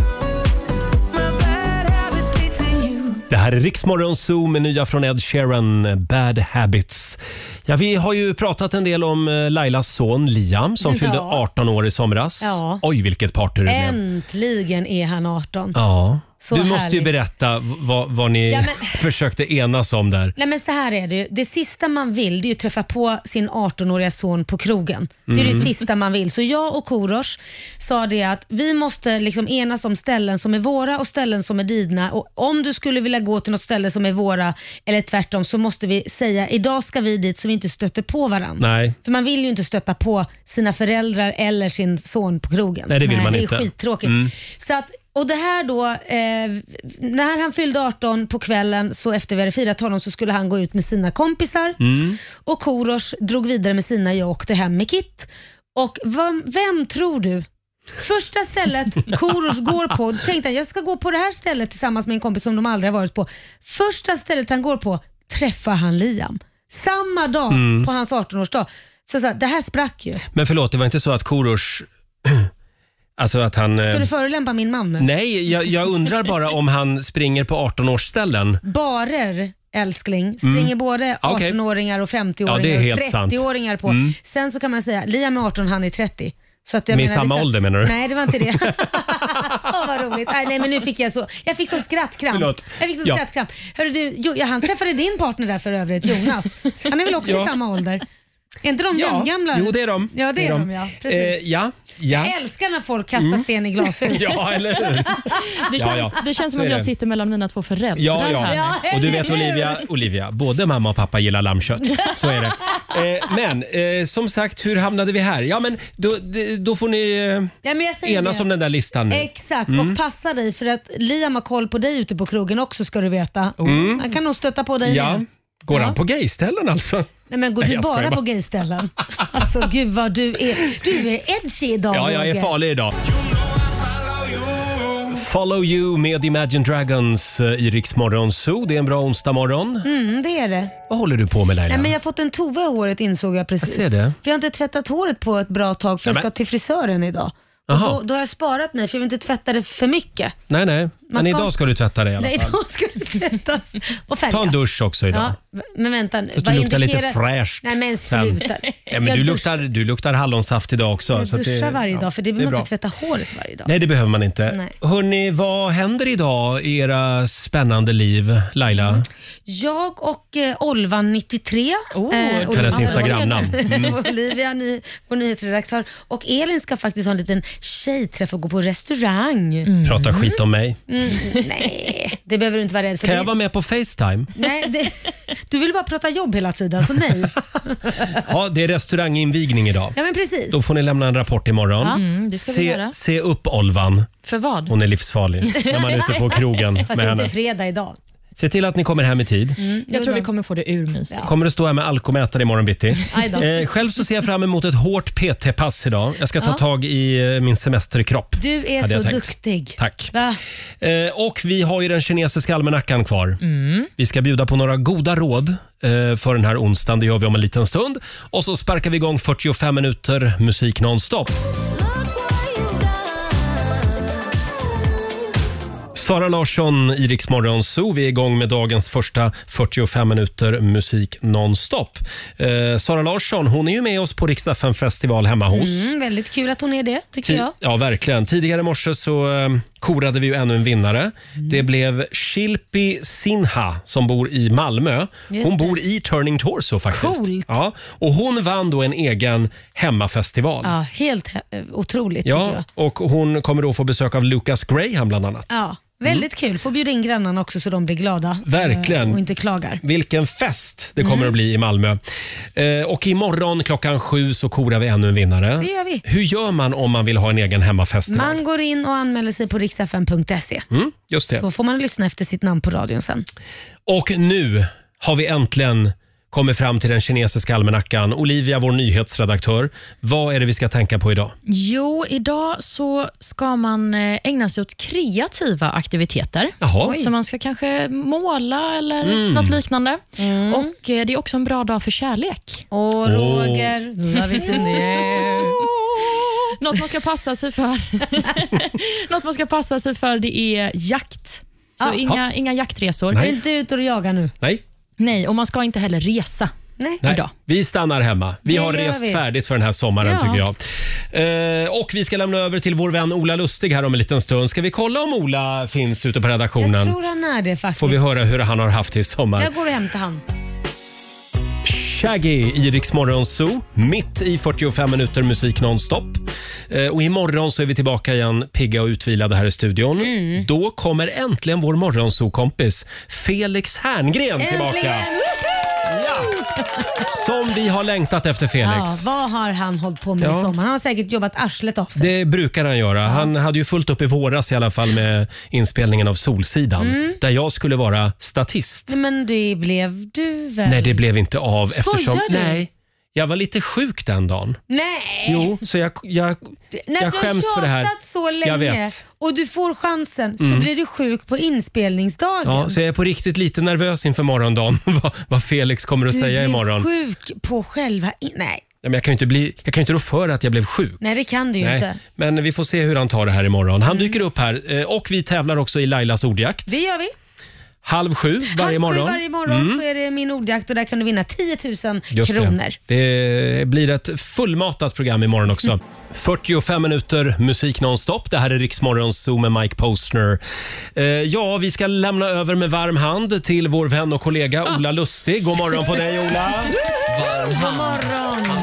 Det här är Riksmorgon Zoo med nya från Ed Sheeran, Bad Habits. Ja, vi har ju pratat en del om eh, Lailas son Liam som
Mm, Ja.
fyllde 18 år i somras.
Ja.
Oj, vilket party det blev.
Äntligen är han 18.
Ja.
Så
du måste ju
härligt.
berätta v- vad, vad ni
Ja, men-
försökte enas om där.
Nej men så här är det ju. Det sista man vill det är ju att träffa på sin 18-åriga son på krogen. Det är
Mm.
det sista man vill. Så jag och Korosh sa det att vi måste liksom enas om ställen som är våra och ställen som är dina. Och om du skulle vilja gå till något ställe som är våra eller tvärtom så måste vi säga idag ska vi dit så vi inte stöter på varandra.
Nej.
För man vill ju inte stöta på sina föräldrar eller sin son på krogen.
Nej, det vill man inte.
Det är skittråkigt.
Mm.
Så att, och det här då, eh, när han fyllde 18 på kvällen så efter vi hade firat honom så skulle han gå ut med sina kompisar
Mm.
och Korosh drog vidare med sina jag åkte hem med Kit. Och vem, vem tror du? Första stället Korosh går på, tänkte han jag ska gå på det här stället tillsammans med en kompis som de aldrig har varit på. Första stället han går på träffar han Liam. Samma dag
Mm.
på hans 18-årsdag. Så, så här, det här sprack ju.
Men förlåt, det var inte så att Korosh Alltså att han...
Ska
eh,
du förolämpa min man nu?
Nej, jag, jag undrar bara om han springer på 18-årsställen.
Barer, älskling, springer
Mm.
både
Okej.
18-åringar och 50-åringar
Ja, det är helt
och 30-åringar på.
sant. Mm.
Sen så kan man säga, Liam är 18, han är 30. Så att jag
Med
menar, det
samma
kan-
ålder, menar du?
Nej, det var inte det. Åh, vad roligt. Nej, nej, men nu fick jag så. Jag fick så skrattkramp.
Förlåt.
Jag fick så
Ja.
skrattkramp. Hörru du, jo, ja, han träffade din partner där för övrigt, Jonas. Han är väl också
Ja.
i samma ålder? Är inte de
Ja.
gamla?
Jo, det är de.
Ja, det, är de. ja. Precis.
Eh, ja. ja.
Jag älskar när folk kastar
Mm.
sten i glashus.
Ja, eller hur?
Det känns,
Ja, ja.
Det känns som
Så
att
är
jag
det.
sitter mellan mina två föräldrar
Ja, ja.
här.
Och du vet Olivia, Olivia, både mamma och pappa gillar lammkött. Så är det. Eh, men eh, som sagt, hur hamnade vi här? Ja, men då, d- då får ni eh,
Ja, men jag säger
enas
det.
om den där listan nu.
Exakt,
Mm.
och passa dig för att Liam har koll på dig ute på krogen också ska du veta.
Mm.
Han kan nog stöta på dig
Ja.
nu.
Går han på gayställen alltså?
Nej men går
Nej,
du
jag skojar
bara
bara.
på gayställen? Alltså gud vad du är, du är edgy idag
Ja, jag är
Roger.
farlig idag. Follow you med Imagine Dragons eh, i Rix Morgon Zoo. Det är en bra onsdagmorgon.
Mm, det är det.
Vad håller du på med Laila?
Nej, men jag har fått en tova i håret insåg jag precis.
Jag ser det.
För jag har inte tvättat håret på ett bra tag för jag
Nej,
ska
men-
till frisören idag. Och
Jaha.
då, då har jag sparat mig för jag vill inte tvätta det för mycket.
Nej, nej. Men
ska-
idag ska du tvätta dig i alla
Nej,
fall.
idag ska det tvättas och färgas.
Ta en dusch också idag.
Ja, men vänta nu.
Så att du
vad
luktar lite
indikerar-
fräscht.
Nej men
sen.
sluta.
Nej, men
Jag
du,
dusch-
luktar, du luktar hallonsaft idag också.
Jag
så att
duschar varje
ja,
dag för det
är
behöver man
bra.
inte tvätta håret varje dag.
Nej, det behöver man inte.
Nej.
Hörni, vad händer idag i era spännande liv, Laila?
Jag och eh, Olvan 93. Oh,
hennes Instagramnamn. Mm.
Olivia, ny, vår nyhetsredaktör. Och Elin ska faktiskt ha en liten tjejträff och gå på restaurang.
Prata skit om mig.
Mm, nej, det behöver du inte vara rädd för.
Kan
Det-
jag vara med på Facetime?
Nej, det, du vill bara prata jobb hela tiden, så nej.
Ja, det är restauranginvigning idag.
Ja, men precis.
Då får ni lämna en rapport imorgon.
Ja, mm, det ska vi
se,
göra.
se upp Olvan.
För vad?
Hon är livsfarlig när man är ute på krogen
Fast
med
det är inte
henne.
fredag idag.
Se till att ni kommer hem i tid.
Jag tror vi kommer få det urmysigt.
Kommer att stå här med alkomätare imorgon bitti.
Aj då.
Eh, själv så ser jag fram emot ett hårt PT-pass idag. Jag ska ta
Ja.
tag i eh, min semesterkropp.
Du är
hade jag
så
tänkt.
duktig.
Tack.
Va?
Eh, och vi har ju den kinesiska almanackan kvar. Vi ska bjuda på några goda råd eh, för den här onsdagen. Det gör vi om en liten stund. Och så sparkar vi igång 45 minuter musik nonstop. Sara Larsson, Iriks morgonzoo. Vi är igång med dagens första 45 minuter musik nonstop. Eh, Sara Larsson, hon är ju med oss på Rix FM festival hemma hos.
Mm, väldigt kul att hon är det, tycker
Ti-
jag.
Ja, verkligen. Tidigare i morse så eh, korade vi ju ännu en vinnare.
Mm.
Det blev Shilpi Sinha som bor i Malmö.
Just
hon
det.
bor i Turning Torso faktiskt.
Coolt.
Ja, och hon vann då en egen hemmafestival.
Ja, helt eh, otroligt tycker
Ja,
jag.
och hon kommer då få besök av Lucas Graham bland annat.
Ja, väldigt
Mm.
kul. Får bjuda in grannarna också så de blir glada.
Verkligen.
eh, Och inte klagar.
Vilken fest det kommer
Mm.
att bli i Malmö. Eh, och imorgon klockan sju så korar vi ännu en vinnare.
Det gör vi.
Hur gör man om man vill ha en egen hemmafestival?
Man går in och anmäler sig på riksfn.se.
Mm, just det.
Så får man lyssna efter sitt namn på radion sen.
Och nu har vi äntligen kommit fram till den kinesiska almanackan. Olivia, vår nyhetsredaktör, vad är det vi ska tänka på idag?
Jo, idag så ska man eh, ägna sig åt kreativa aktiviteter.
Jaha. Oj.
Så man ska kanske måla eller
Mm.
något liknande. Och eh, Det är också en bra dag för kärlek.
Åh, Roger. Love is in the air.
något man ska passa sig för Något man ska passa sig för det är jakt. Så
Ja.
inga,
Ja.
inga jaktresor.
Nej. Inte
ut och jaga nu.
Nej?
Nej, och man ska inte heller resa.
Nej.
Nej,
Idag.
vi stannar hemma. Vi
Det
har
gör
rest
vi.
färdigt för den här sommaren
Ja.
tycker jag. Eh, och vi ska lämna över till vår vän Ola Lustig här om en liten stund. Ska vi kolla om Ola finns ute på
Jag
redaktionen?
tror han är det faktiskt.
Får vi höra hur han har haft det i sommar.
Jag går och hämtar han.
Shaggy i Rix Morgon Zoo, mitt i 45 minuter musik nonstop. Eh, Och imorgon så är vi tillbaka igen, pigga och utvilade här i studion.
Mm.
Då kommer äntligen vår morgonzoo-kompis Felix Herngren tillbaka. Som vi har längtat efter Felix.
Ja, vad har han hållit på med i
Ja.
sommar? Han har säkert jobbat arslet av sig.
Det brukar han göra. Han hade ju fullt upp i våras i alla fall med inspelningen av Solsidan,
Mm.
där jag skulle vara statist.
Nej, Men det blev du väl?
Nej, det blev inte av
Skojar
eftersom...
du?
Nej, jag var lite sjuk den dagen.
Nej.
Jo, så jag, jag,
När
jag
du
skäms
har
för det här.
tjatat så länge
Jag vet.
och du får chansen så
Mm.
blir du sjuk på inspelningsdagen.
Ja, så jag är på riktigt lite nervös inför morgondagen. vad, vad Felix kommer att
du
säga
blir
imorgon.
sjuk på själva... In- Nej,
men jag kan ju inte, bli, jag kan ju inte rå för att jag blev sjuk.
Nej, det kan du ju
Nej,
inte. Mm.
Men vi får se hur han tar det här imorgon. Han dyker upp här eh, och vi tävlar också i Lailas ordjakt.
Det gör vi.
Halv sju varje
Halv sju
morgon.
varje morgon
Mm.
så är det min ordjakt och där kan du vinna 10 000
Just
kronor.
Det. det blir ett fullmatat program imorgon
Mm.
också. 45 minuter musik nonstop. Det här är Riksmorgon Zoo med Mike Postner. Eh, ja, vi ska lämna över med varm hand till vår vän och kollega
Ah.
Ola Lustig. God morgon på dig Ola!
God morgon!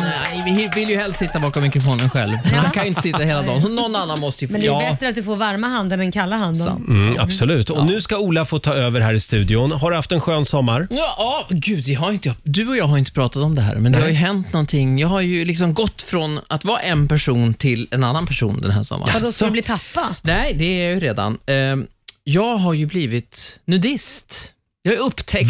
Nej, vi vill ju helst sitta bakom mikrofonen själv. Men Man kan ju inte sitta hela dagen, så någon annan måste ju få...
Men det är bättre att du får varma handen än kalla handen.
Mm, absolut. Och nu ska Ola få ta över här i studion. Har du haft en skön sommar?
Ja, ja, gud, jag har inte, du och jag har inte pratat om det här, men det har ju hänt någonting. Jag har ju liksom gått från att vara en person till en annan person den här sommaren.
Vadå, ska du bli pappa?
Nej, det är jag ju redan. Ehm, Jag har ju blivit nudist. Jag har upptäckt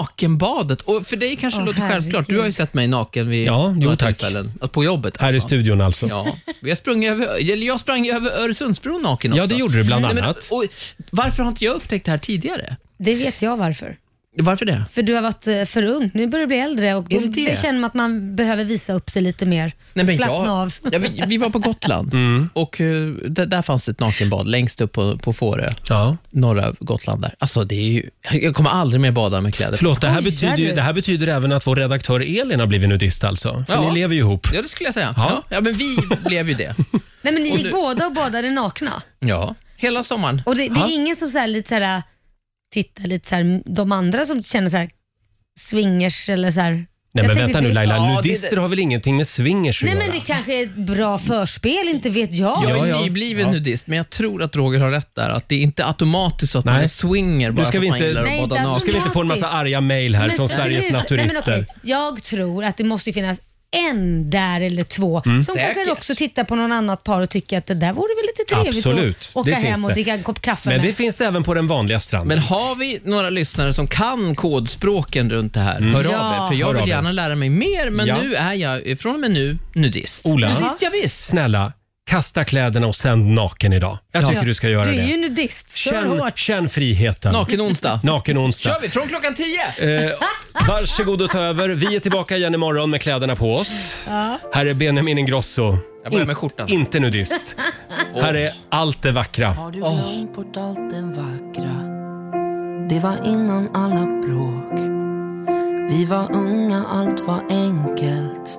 nakenbadet. Och för dig kanske det
Åh,
låter självklart. Du har ju sett mig naken vid
Ja, jo,
några
tack.
tillfällen. Att På jobbet.
Här i studion alltså.
Ja. Jag sprang över, eller jag sprang över Öresundsbron naken också.
Ja, det gjorde du bland
men-
annat.
och, varför har inte jag upptäckt det här tidigare?
Det vet jag varför.
Varför det?
För du har varit eh, för ung. Nu börjar du bli äldre och då
Är det det?
känner man att man behöver visa upp sig lite mer. Slappna av.
Ja, vi, vi var på Gotland och eh, där, där fanns det ett nakenbad längst upp på, på Fårö. Norra Gotland där. Alltså, det är ju, jag kommer aldrig mer bada med kläder.
Förlåt, det här, betyder ju, det här betyder även att vår redaktör Elin har blivit nudist alltså. För
Ja.
ni lever ju ihop.
Ja, det skulle jag säga.
Ja.
Ja, ja men vi blev ju det.
Nej, men ni
Och
gick
du-
båda och badade nakna.
Ja, hela sommaren.
Och det, det
Ja.
är ingen som så här, lite så här, tittar lite så här, de andra som känner så här swingers eller så här.
Nej
Jag
men
tänkte
vänta
inte-
nu Laila, nudister har väl ingenting med swingers att
Nej
göra?
men det kanske är ett bra förspel, inte vet jag.
Jag är nybliven nudist, men jag tror att Roger har rätt där. Att det är inte automatiskt så att man är swinger bara
Nu ska vi
för att
inte,
man gillar
Nej,
att bada
inte
nu ska vi inte få en massa
automatiskt.
arga mejl här
Men
från
sluta.
Sveriges
Nej,
naturister.
men okej. Jag tror att det måste ju finnas en där eller två
Mm.
som kanske
Säkert.
också tittar på någon annat par och tycker att det där vore väl lite trevligt
Absolut.
att åka
Det finns
hem och
det.
dricka en kopp kaffe
Men
med.
det finns det även på den vanliga stranden.
Men har vi några lyssnare som kan kodspråken runt det här,
Mm.
hör
Ja.
av er. För jag
Hör av
vill
er.
gärna lära mig mer, men
Ja.
nu är jag eh, från och med nu nudist.
Ola,
Nudist, ja, visst.
snälla, kasta kläderna och sänd naken idag. Jag
Ja.
tycker du ska göra
du är
det.
ju nudist, kör
Känn,
hårt.
känn friheten.
Naken onsdag.
Naken onsdag.
kör vi från klockan tio!
Eh, varsågod och ta över. Vi är tillbaka igen imorgon med kläderna på oss. Här är Benjamin Ingrosso.
Jag börjar med skjortan.
Inte nudist. Här är allt det vackra.
Har du glömt bort allt det vackra? Det var innan alla bråk. Vi var unga, allt var enkelt.